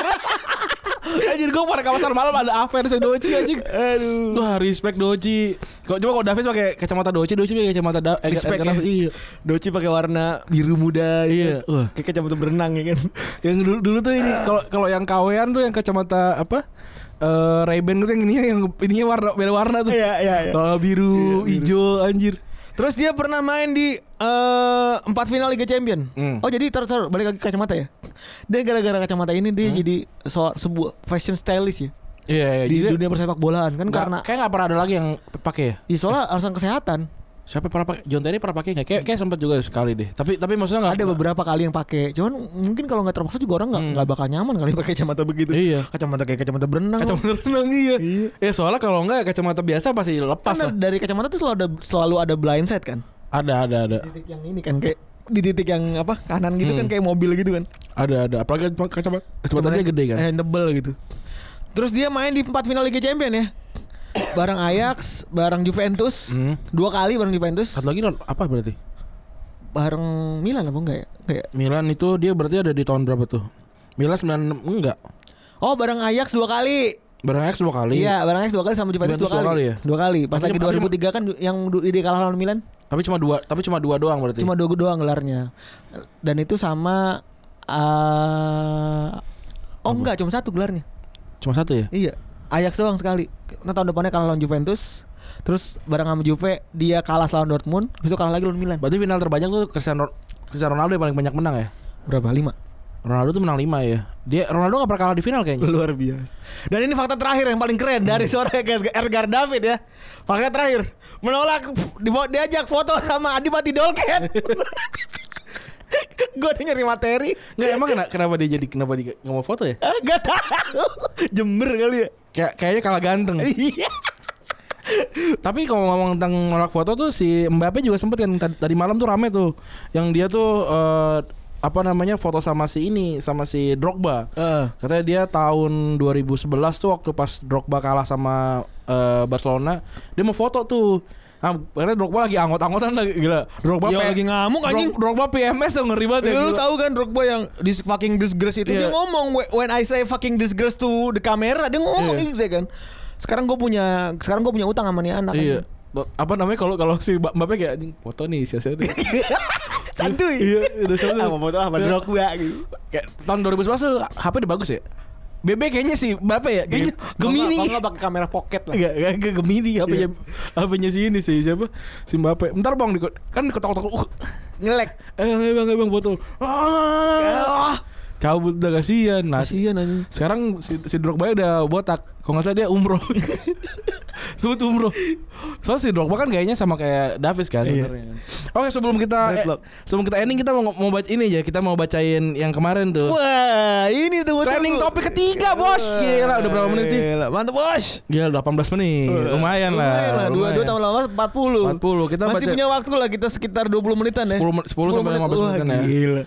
Anjir gue pada kawasan malam ada Avens yang Doji anjing. Aduh. Wah, respect Doji. Kok coba kalau Davis pakai kacamata Doji, Doji pakai kacamata da eh,
Respect
Edgar
ya.
Davis, Iya.
(laughs) Doci pakai warna biru muda
Iya,
gitu.
wah.
Kayak kacamata berenang ya
(laughs)
kan.
Yang dulu dulu tuh ini kalau kalau yang kawean tuh yang kacamata apa? Eh Ray-Ban gitu yang ini yang ininya warna beda warna tuh.
Iya, iya, iya.
Kalau biru, hijau anjir.
Terus dia pernah main di eh, empat final Liga Champion.
Hmm.
Oh jadi taruh taruh balik lagi ke kacamata ya. Dia gara-gara kacamata ini dia jadi so- sebuah fashion stylist ya
Iya, iya.
di
Hmm. jadi
dunia persepak bolaan kan
nggak-
karena
kayak nggak pernah ada lagi yang pakai ya.
ya soalnya alasan kesehatan.
Siapa pernah pakai? John Terry pernah pakai nggak? Kayak kayak sempat juga sekali deh. Tapi tapi maksudnya nggak
Ada beberapa kali yang pakai. Cuman mungkin kalau nggak terpaksa juga orang nggak nggak bakal nyaman kali pakai kacamata begitu.
Hmm. Iya.
Kacamata kayak kacamata berenang. Kan
kacamata renang iya. Ya soalnya kalau nggak kacamata biasa pasti lepas
Karena
lah.
dari kacamata tuh selalu ada selalu ada blind side kan.
Ada ada ada.
Titik yang ini kan kayak di titik yang apa kanan gitu
Hmm.
kan kayak mobil gitu kan.
Ada ada. Apalagi cuma- kacamata kacamata dia gede kan.
Eh, tebel gitu. Terus dia main di empat final Liga Champion ya. bareng Ajax, bareng Juventus,
Hmm.
dua kali bareng Juventus,
Satu lagi non- apa berarti?
bareng Milan apa enggak ya? Enggak ya?
Milan itu dia berarti ada di tahun berapa tuh? Milan 96 enggak.
Oh, bareng Ajax dua kali.
Barang X dua kali.
Iya, bareng Ajax dua kali sama Juventus, dua
Juventus
kali.
dua kali ya?
Dua kali. Pas
Tapi
lagi
cuma-
2003 kan yang du- dia kalah lawan Milan,
Tapi cuma dua, tapi cuma dua doang berarti.
Iya. cuma dua doang gelarnya. Dan itu sama eh Oh enggak, cuma satu gelarnya.
Cuma satu ya?
Iya. Ajax doang sekali. Nah tahun depannya kalah lawan Juventus. Terus bareng sama Juve dia kalah lawan Dortmund, habis itu kalah lagi lawan Milan.
Berarti final terbanyak tuh Cristiano Cristiano Ronaldo yang paling banyak menang ya?
Berapa? 5.
Ronaldo tuh menang 5 ya. Dia Ronaldo gak pernah kalah di final (laughs) kayaknya.
(laughs) Luar biasa. Dan ini fakta terakhir yang paling keren dari suara Edgar David ya. Fakta terakhir, menolak pff, dibawa- diajak foto sama Adipati (laughs) Dolken. Gue udah nyari materi.
Enggak emang kena- kenapa dia jadi kenapa dia nggak mau foto ya?
Ah, Gak tahu. Jember kali ya.
Kayak kayaknya kalah ganteng.
Iya.
Tapi kalau ngomong tentang nolak foto tuh si Mbappe juga sempet kan tadi, tadi malam tuh rame tuh yang dia tuh eh, apa namanya foto sama si ini sama si Drogba.
Eh.
Katanya dia tahun 2011 tuh waktu pas Drogba kalah sama eh, Barcelona, dia mau foto tuh. Ah, katanya Drogba lagi anggot-anggotan lagi gila. Drogba
Iya,
P-
lagi ngamuk,
Drog-
anjing.
Drogba PMS tuh ngeri banget ya.
Lu
gila.
tahu kan Drogba yang dis fucking disgrace itu
Iya.
dia ngomong "Wh- when I say fucking disgrace to the camera dia ngomong
Iya.
iya kan. Sekarang gue punya sekarang gue punya utang sama nih anak. (laughs)
Iya. Apa namanya kalau kalau si Mba- Mbappe kayak anjing foto nih
(laughs)
siapa nih.
Santuy.
Iya, udah santuy.
Sama Ah, foto sama
Iya.
Drogba gitu.
Kayak tahun 2011 tuh HP udah bagus ya. BB kayaknya sih Bapak ya kayaknya
Iya. Kalau
Gemini.
nggak Iya. pakai kamera pocket lah.
Enggak, enggak, enggak Gemini HP-nya HP-nya si ini sih siapa? Si Mbappe. Bentar Bang di kan diketok-ketok. Uh,
Ngelek.
eh ayo, Bang, ayo, Bang foto. Ah, cabut udah kasihan.
Iya.
Nah,
Kasihan aja.
sekarang si, si Drogba ya udah botak. Kalau nggak salah dia umroh. (laughs) Sebut umroh. Soalnya si Drogba kan gayanya sama kayak Davis kan
Iya.
sebenarnya. Oke, sebelum kita eh,
Dreadlock.
sebelum kita ending kita mau mau baca ini aja. Kita mau bacain yang kemarin tuh.
Wah, ini tuh gua
Trending
tunggu.
topik ketiga, Bos. Gila, udah berapa menit sih?
Gila, mantap, Bos.
Ya 18 menit. Lumayan lah.
Lumayan lah, dua, dua
lumayan.
tambah lama 40
40, kita
Masih
baca-
punya waktu lah kita sekitar 20 menitan ya
10 men- 10 sampai 15
Wah,
menitan ya.
Gila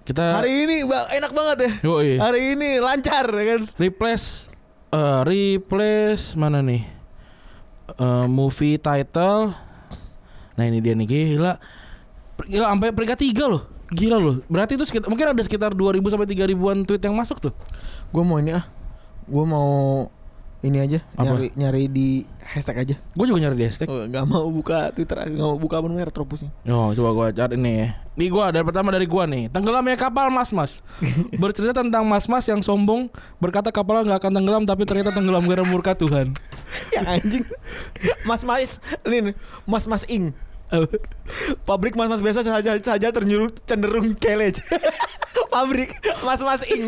Kita
Hari ini ba- enak banget ya
Yoi.
Hari ini lancar ya kan
replace eh replace mana nih? Eh, movie title. Nah, ini dia nih gila. Per- Gila sampai peringkat 3 loh. Gila loh. Berarti itu sekitar, mungkin ada sekitar 2000 sampai 3000-an tweet yang masuk tuh.
Gue mau ini ah Gue mau ini aja
Apa?
nyari nyari di hashtag aja
Gue juga nyari di hashtag.
Oh, Gak mau buka Twitter Gak mau buka abonnya retropusnya
Oh, coba gua cari nih ya. Ini gua dari pertama dari gua nih. Tenggelamnya kapal (laughs) mas-mas. Bercerita tentang mas-mas yang sombong berkata kapal nggak akan tenggelam tapi ternyata tenggelam karena murka Tuhan.
(laughs) Ya anjing Mas Mas Ini nih, Mas Mas Ing Pabrik mas-mas biasa saja saja ternyuruh cenderung kelej. (laughs) Pabrik mas-mas ing.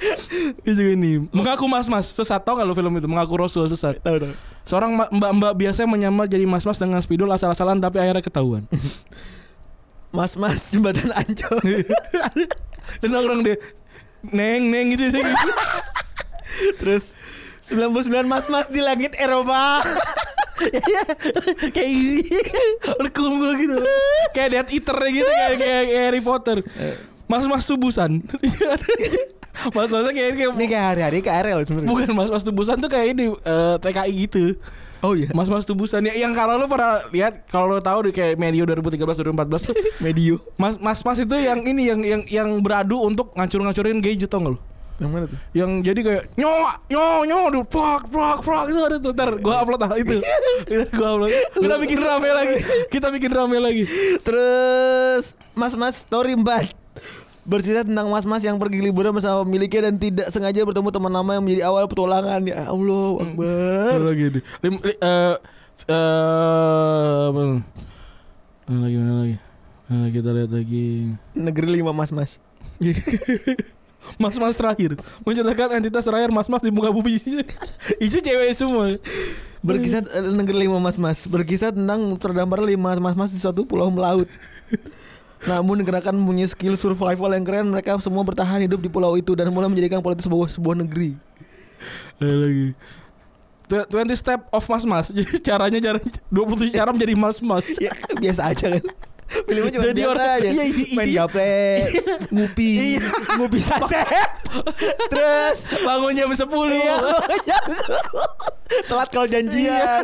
(laughs) Ini juga ini Mengaku mas-mas Sesat tau gak lo film itu Mengaku Rasul sesat
Tahu tahu.
Seorang ma- mbak-mbak biasa menyamar jadi mas-mas dengan spidol asal-asalan tapi akhirnya ketahuan (laughs)
Mas-mas jembatan Ancol.
Dan orang deh Neng-neng gitu (laughs) sih
(laughs) Terus 99 mas-mas di langit Eropa. Iya.
Kayak Berkumpul gitu Kayak Death Eater gitu Kayak, kayak, kayak Harry Potter Mas-mas (laughs) tubusan Mas-masnya kayak, kayak
Ini kayak hari-hari ke Ariel sebenarnya.
(laughs) Bukan mas-mas tubusan tuh kayak ini eh, TKI gitu
Oh iya.
Mas-mas tubusan ya yang kalau lu pernah lihat kalau lu tahu di kayak medio 2013 2014 tuh
Medio.
Mas mas mas itu yang ini yang yang yang beradu untuk ngancur-ngancurin gadget tau gak lu?
Yang mana tuh?
yang jadi kayak nyo nyo nyo aduh prak prak prak itu ada tuh ntar gua upload hal itu ntar gua upload kita bikin rame lagi kita bikin rame lagi
Terus mas-mas story empat bercerita tentang mas-mas yang pergi liburan bersama pemiliknya dan tidak sengaja bertemu teman lama yang menjadi awal petualangan ya Allah Akbar.
Ada lagi nih lim li- eh, f- eh, apa? Mana lagi mana lagi Mana lagi, kita lihat lagi
Negeri lima mas-mas.
(laughs) Mas-mas terakhir Menceritakan entitas terakhir mas-mas di muka bumi (laughs) Isinya- Isinya cewek semua
Berkisah eh, negeri lima mas-mas. Berkisah tentang terdampar lima mas-mas di suatu pulau melaut. Namun gerakan punya skill survival yang keren mereka semua bertahan hidup di pulau itu dan mulai menjadikan pulau itu sebuah sebuah negeri.
Ada lagi Tw- 20 step of mas-mas (laughs) Jadi caranya cara 27 cara menjadi mas-mas
Ya (laughs) biasa aja kan. Filmnya cuma
Jadi
biasa
orang-
aja.
iya, isi-
main (laughs)
isinya-
gaplek, ngupi, Iya, ngupi saset. (laughs) Terus
Bangun jam 10
iya, (laughs) telat kalau ya. janjian.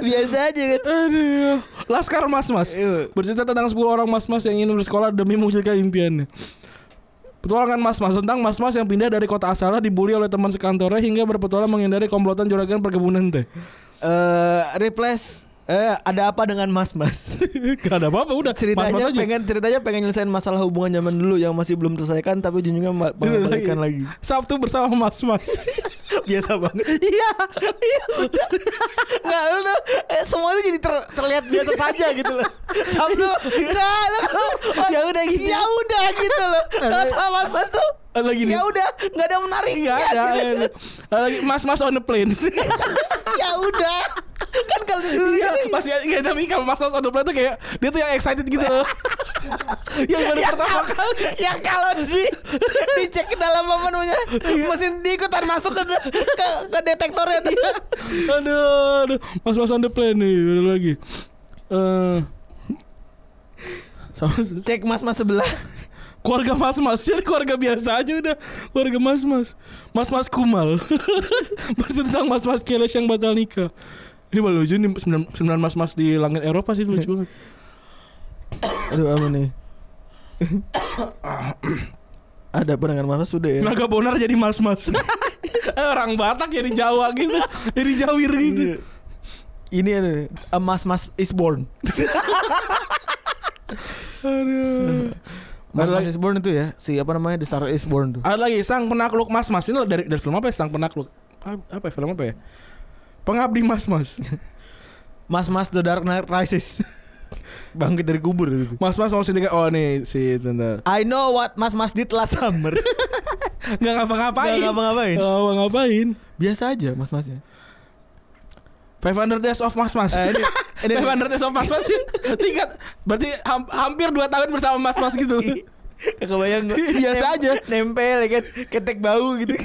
biasa aja kan.
Iya. Aduh. Laskar mas-mas
Iya.
Bercerita tentang 10 orang mas-mas yang ingin bersekolah demi mewujudkan impiannya Petualangan mas-mas tentang mas-mas yang pindah dari kota asalnya dibully oleh teman sekantornya hingga berpetualang menghindari komplotan juragan perkebunan teh.
Eh, replace eh ada apa dengan Mas Mas?
(laughs) Gak ada apa-apa udah.
ceritanya
mas-mas aja.
pengen ceritanya pengen nyelesain masalah hubungan zaman dulu yang masih belum terselesaikan tapi ujungnya mal- malah balikan lagi.
Sabtu bersama (laughs) mas-mas.
Biasa banget. Iya. Iya. bener. Nggak lu tuh eh, semuanya jadi ter- terlihat biasa saja gitu loh. Sabtu. Nah, lu ya udah gitu. Ya udah gitu loh. Kalau sama Mas Mas tuh
Ada Eh, lagi nih.
ya udah gitu. nggak ada menarik
Gak ada.
nah,
ada. Ada lagi mas-mas on the plane.
(laughs) ya udah kan kalau dulu
Iya, masih ya, tapi kalau mas-mas on the plane tuh kayak dia tuh yang excited gitu
(laughs)
loh. yang baru
Iya.
pertama kali.
ya kalau di dicek ke dalam apa namanya mesin diikutan masuk ke ke, ke detektornya dia
aduh, aduh. Mas Mas on the plane nih, ada lagi. Eh. sama
cek mas mas sebelah
keluarga Mas Mas, jadi keluarga biasa aja udah. Keluarga Mas Mas. Mas Mas Kumal. (laughs) Berarti tentang Mas Mas Keles yang batal nikah. Ini malah lucu nih sembilan, sembilan mas mas di langit Eropa sih lucu banget.
aduh apa nih ada apa dengan mas mas sudah ya
Naga Bonar jadi mas mas. (laughs) Orang Batak jadi Jawa gitu, jadi Jawir gitu.
Iya. ini ada nih, a mas mas is born
Aduh.
mas
Ada
mas
lagi-
is born itu ya si apa namanya the star is born tuh
Ada lagi sang penakluk Mas Mas ini dari dari film apa ya sang penakluk? A- Apa ya film apa ya? Pengabdi Mas Mas.
mas mas the dark knight rises (laughs) bangkit dari kubur itu tuh.
Mas Mas mau sini oh nih si tentang
I know what mas mas did last summer
nggak ngapa-ngapain.
Nggak ngapa-ngapain.
Nggak ngapa-ngapain.
biasa aja mas masnya
500 Days of Mas Mas.
Eh, ini-
(laughs)
ini-
500 Days of Mas Mas sih tingkat berarti ham- hampir 2 tahun bersama Mas Mas gitu.
Iya. Gak Ya, kebayang (laughs) gua.
Biasa
Nem-
aja.
Nempel ya kan Ketek bau gitu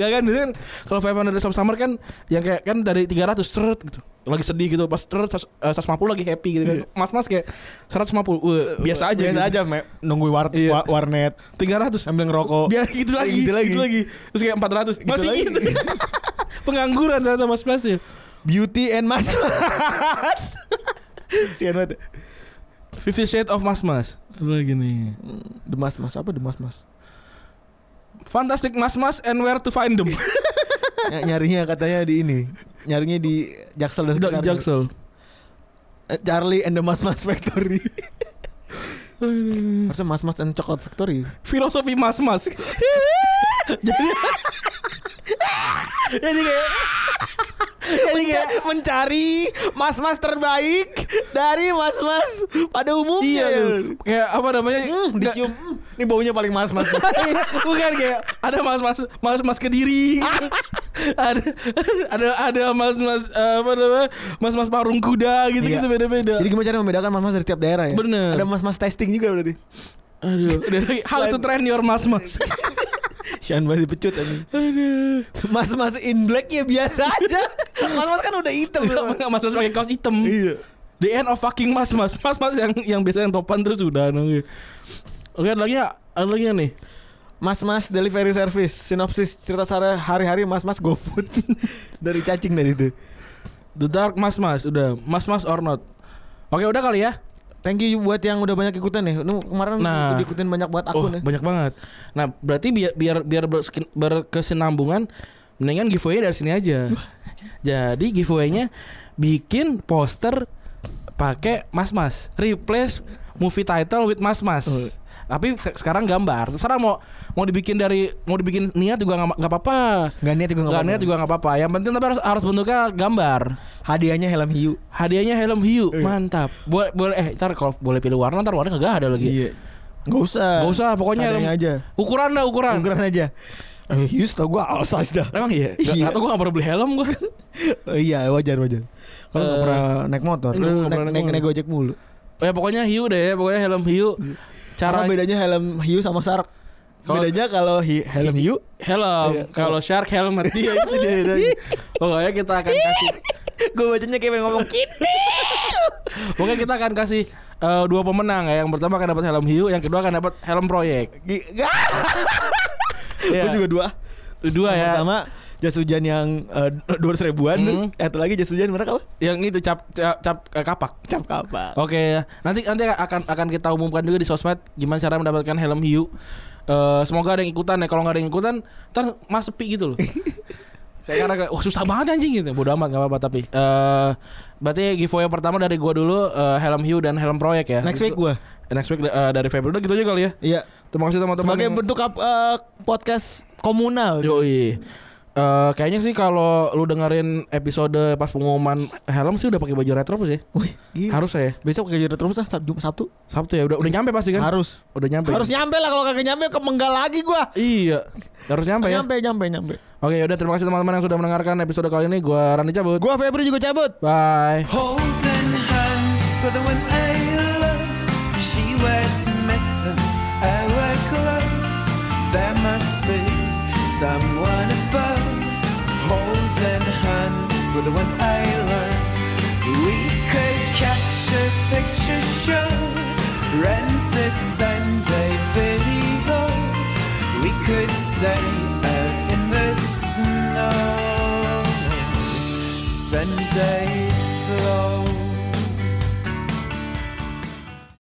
Gak kan Biasanya kan kalau 500 Days of Summer kan yang kayak kan dari 300 seret gitu. Lagi sedih gitu pas seret seratus- eh, 150 lagi happy gitu kan. Mas Mas kayak 150 eh, biasa aja.
Iya. Biasa
gitu.
aja me- Nunggu war-
Iya.
wa- warnet
300
Sambil ngerokok
Biar gitu lagi,
Gitu
gitu
lagi.
lagi. Terus kayak 400.
Gitu
Masih
lagi. (laughs)
gitu. Pengangguran ternyata Mas Pras ya.
Beauty and mas mas (laughs) Sian banget
Fifty Shades of Mas Mas. Apa lagi nih?
The mas mas Apa the mas mas
Fantastic Mas Mas and Where to Find Them.
Ya, Nyarinya katanya di ini Nyarinya di Jaksel dan
Udah
sekitarnya.
Jaksel.
Eh, Charlie and the mas mas (laughs) factory Harusnya mas mas and chocolate factory
Filosofi Mas Mas. Jadi (laughs) Jadi kayak
Menca- Mencari mas mas terbaik Dari mas mas Pada umumnya
iya tuh. Kayak apa namanya?
Hmm,
nggak-
dicium. Hmm, Ini baunya paling mas-mas. (laughs)
Bukan kayak ada mas-mas mas-mas kediri, ada ada ada mas-mas eh, apa namanya mas-mas parung kuda gitu-gitu
Iya.
beda-beda.
Jadi gimana cara membedakan mas-mas dari tiap daerah ya?
Bener.
Ada mas-mas testing juga berarti.
Aduh, udah lagi how to train your mas-mas.
Sian banget pecut anjing.
Aduh.
Mas-mas in black ya biasa aja. Mas-mas kan udah hitam.
(laughs) Enggak mas-mas pakai kaos hitam.
Iya.
The end of fucking mas-mas. Mas-mas yang yang biasa yang topan terus udah nunggu. Oke, ada lagi ya? Ada lagi ya nih?
Mas-mas delivery service. Sinopsis cerita sehari- hari-hari mas-mas GoFood. (laughs) dari cacing tadi itu.
The Dark Mas Mas udah Mas Mas or Not. Oke udah kali ya.
Thank you buat yang udah banyak ikutan ya. Lu kemarin
Nah.
udah ikutin banyak buat
Oh,
akun ya.
banyak banget. Nah, berarti biar biar biar bersekin- berkesinambungan mendingan giveaway dari sini aja. Jadi giveaway-nya bikin poster pakai mas-mas, replace movie title with mas-mas. Tapi se- sekarang gambar. Terserah mau mau dibikin dari mau dibikin niat juga nggak nggak apa-apa.
Gak niat juga
Nggak
apa-apa.
niat juga nggak apa-apa. Yang penting tapi harus harus bentuknya gambar.
Hadiahnya helm hiu.
Hadiahnya helm hiu,
Iya.
mantap. Boleh boleh eh ntar kalau boleh pilih warna ntar warna kagak ada lagi.
Gak usah.
Gak Iya. usah, pokoknya
Adanya
helm-
Iya. aja.
Ukuran dah ukuran.
Ukuran aja. Eh, hiu tau gue outsize dah.
Emang iya?
Iya.
Atau gue gak pernah beli helm gue
Eh, iya wajar wajar. Kalau nggak
Eh,
pernah naik motor,
enggak,
lu
nggak
naik
pernah naik
naik,
motor.
naik gojek mulu.
Ya pokoknya hiu deh Pokoknya helm hiu Cara
Iya. Apa bedanya helm hiu sama shark?
Kalau-
bedanya kalau hi- helm hiu
Helm
Iya.
Kalau shark
(laughs)
helmet Iya itu dia bedanya. Pokoknya kita akan kasih
Gue bacanya kayak ngomong
Pokoknya kita akan kasih eh, Dua pemenang ya Yang pertama akan dapat helm hiu Yang kedua akan dapat helm proyek Iya.
Gue juga dua
Dua
Yang
ya
Pertama jas hujan yang eh, dua ratus ribuan
Hmm.
Satu lagi jas hujan mereka apa?
Yang itu cap Cap, cap- eh, kapak
Cap kapal
Oke, nanti nanti akan akan kita umumkan juga di sosmed gimana cara mendapatkan helm hiu. Eh, semoga ada yang ikutan ya. Kalau nggak ada yang ikutan, ntar mas sepi gitu loh.
(laughs)
Kayak Karena kayak, wah susah banget anjing gitu. Bodoh amat nggak apa-apa tapi. eh berarti giveaway pertama dari gua dulu eh, helm hiu dan helm proyek ya.
Oh, Next week
Gitu-
gue
Next week eh, dari Februari udah gitu aja kali ya.
Iya
Terima kasih teman-teman.
Sebagai
yang-
bentuk kap- eh, podcast komunal
Yoi. Eh, kayaknya sih kalau lu dengerin episode pas pengumuman helm sih udah pakai baju retro sih.
Wih gila.
Harus ya.
Besok kayak terus lah Sabtu, Sabtu.
Sabtu ya udah udah nyampe pasti kan?
Harus
Udah nyampe.
Iya. Harus nyampe lah kalau kagak nyampe ke Menggal lagi gue
Iya, harus nyampe ya.
Nyampe nyampe nyampe
Oke, udah terima kasih teman-teman yang sudah mendengarkan episode kali ini. Gua Randy cabut.
Gue Febri juga cabut
Bye.
Holding hands with the one I love. She wears mittens, I wear gloves. There must be someone above. Holding hands with the one I love. We could catch a picture show, rent a Sunday video. We could stay out in the snow. Sunday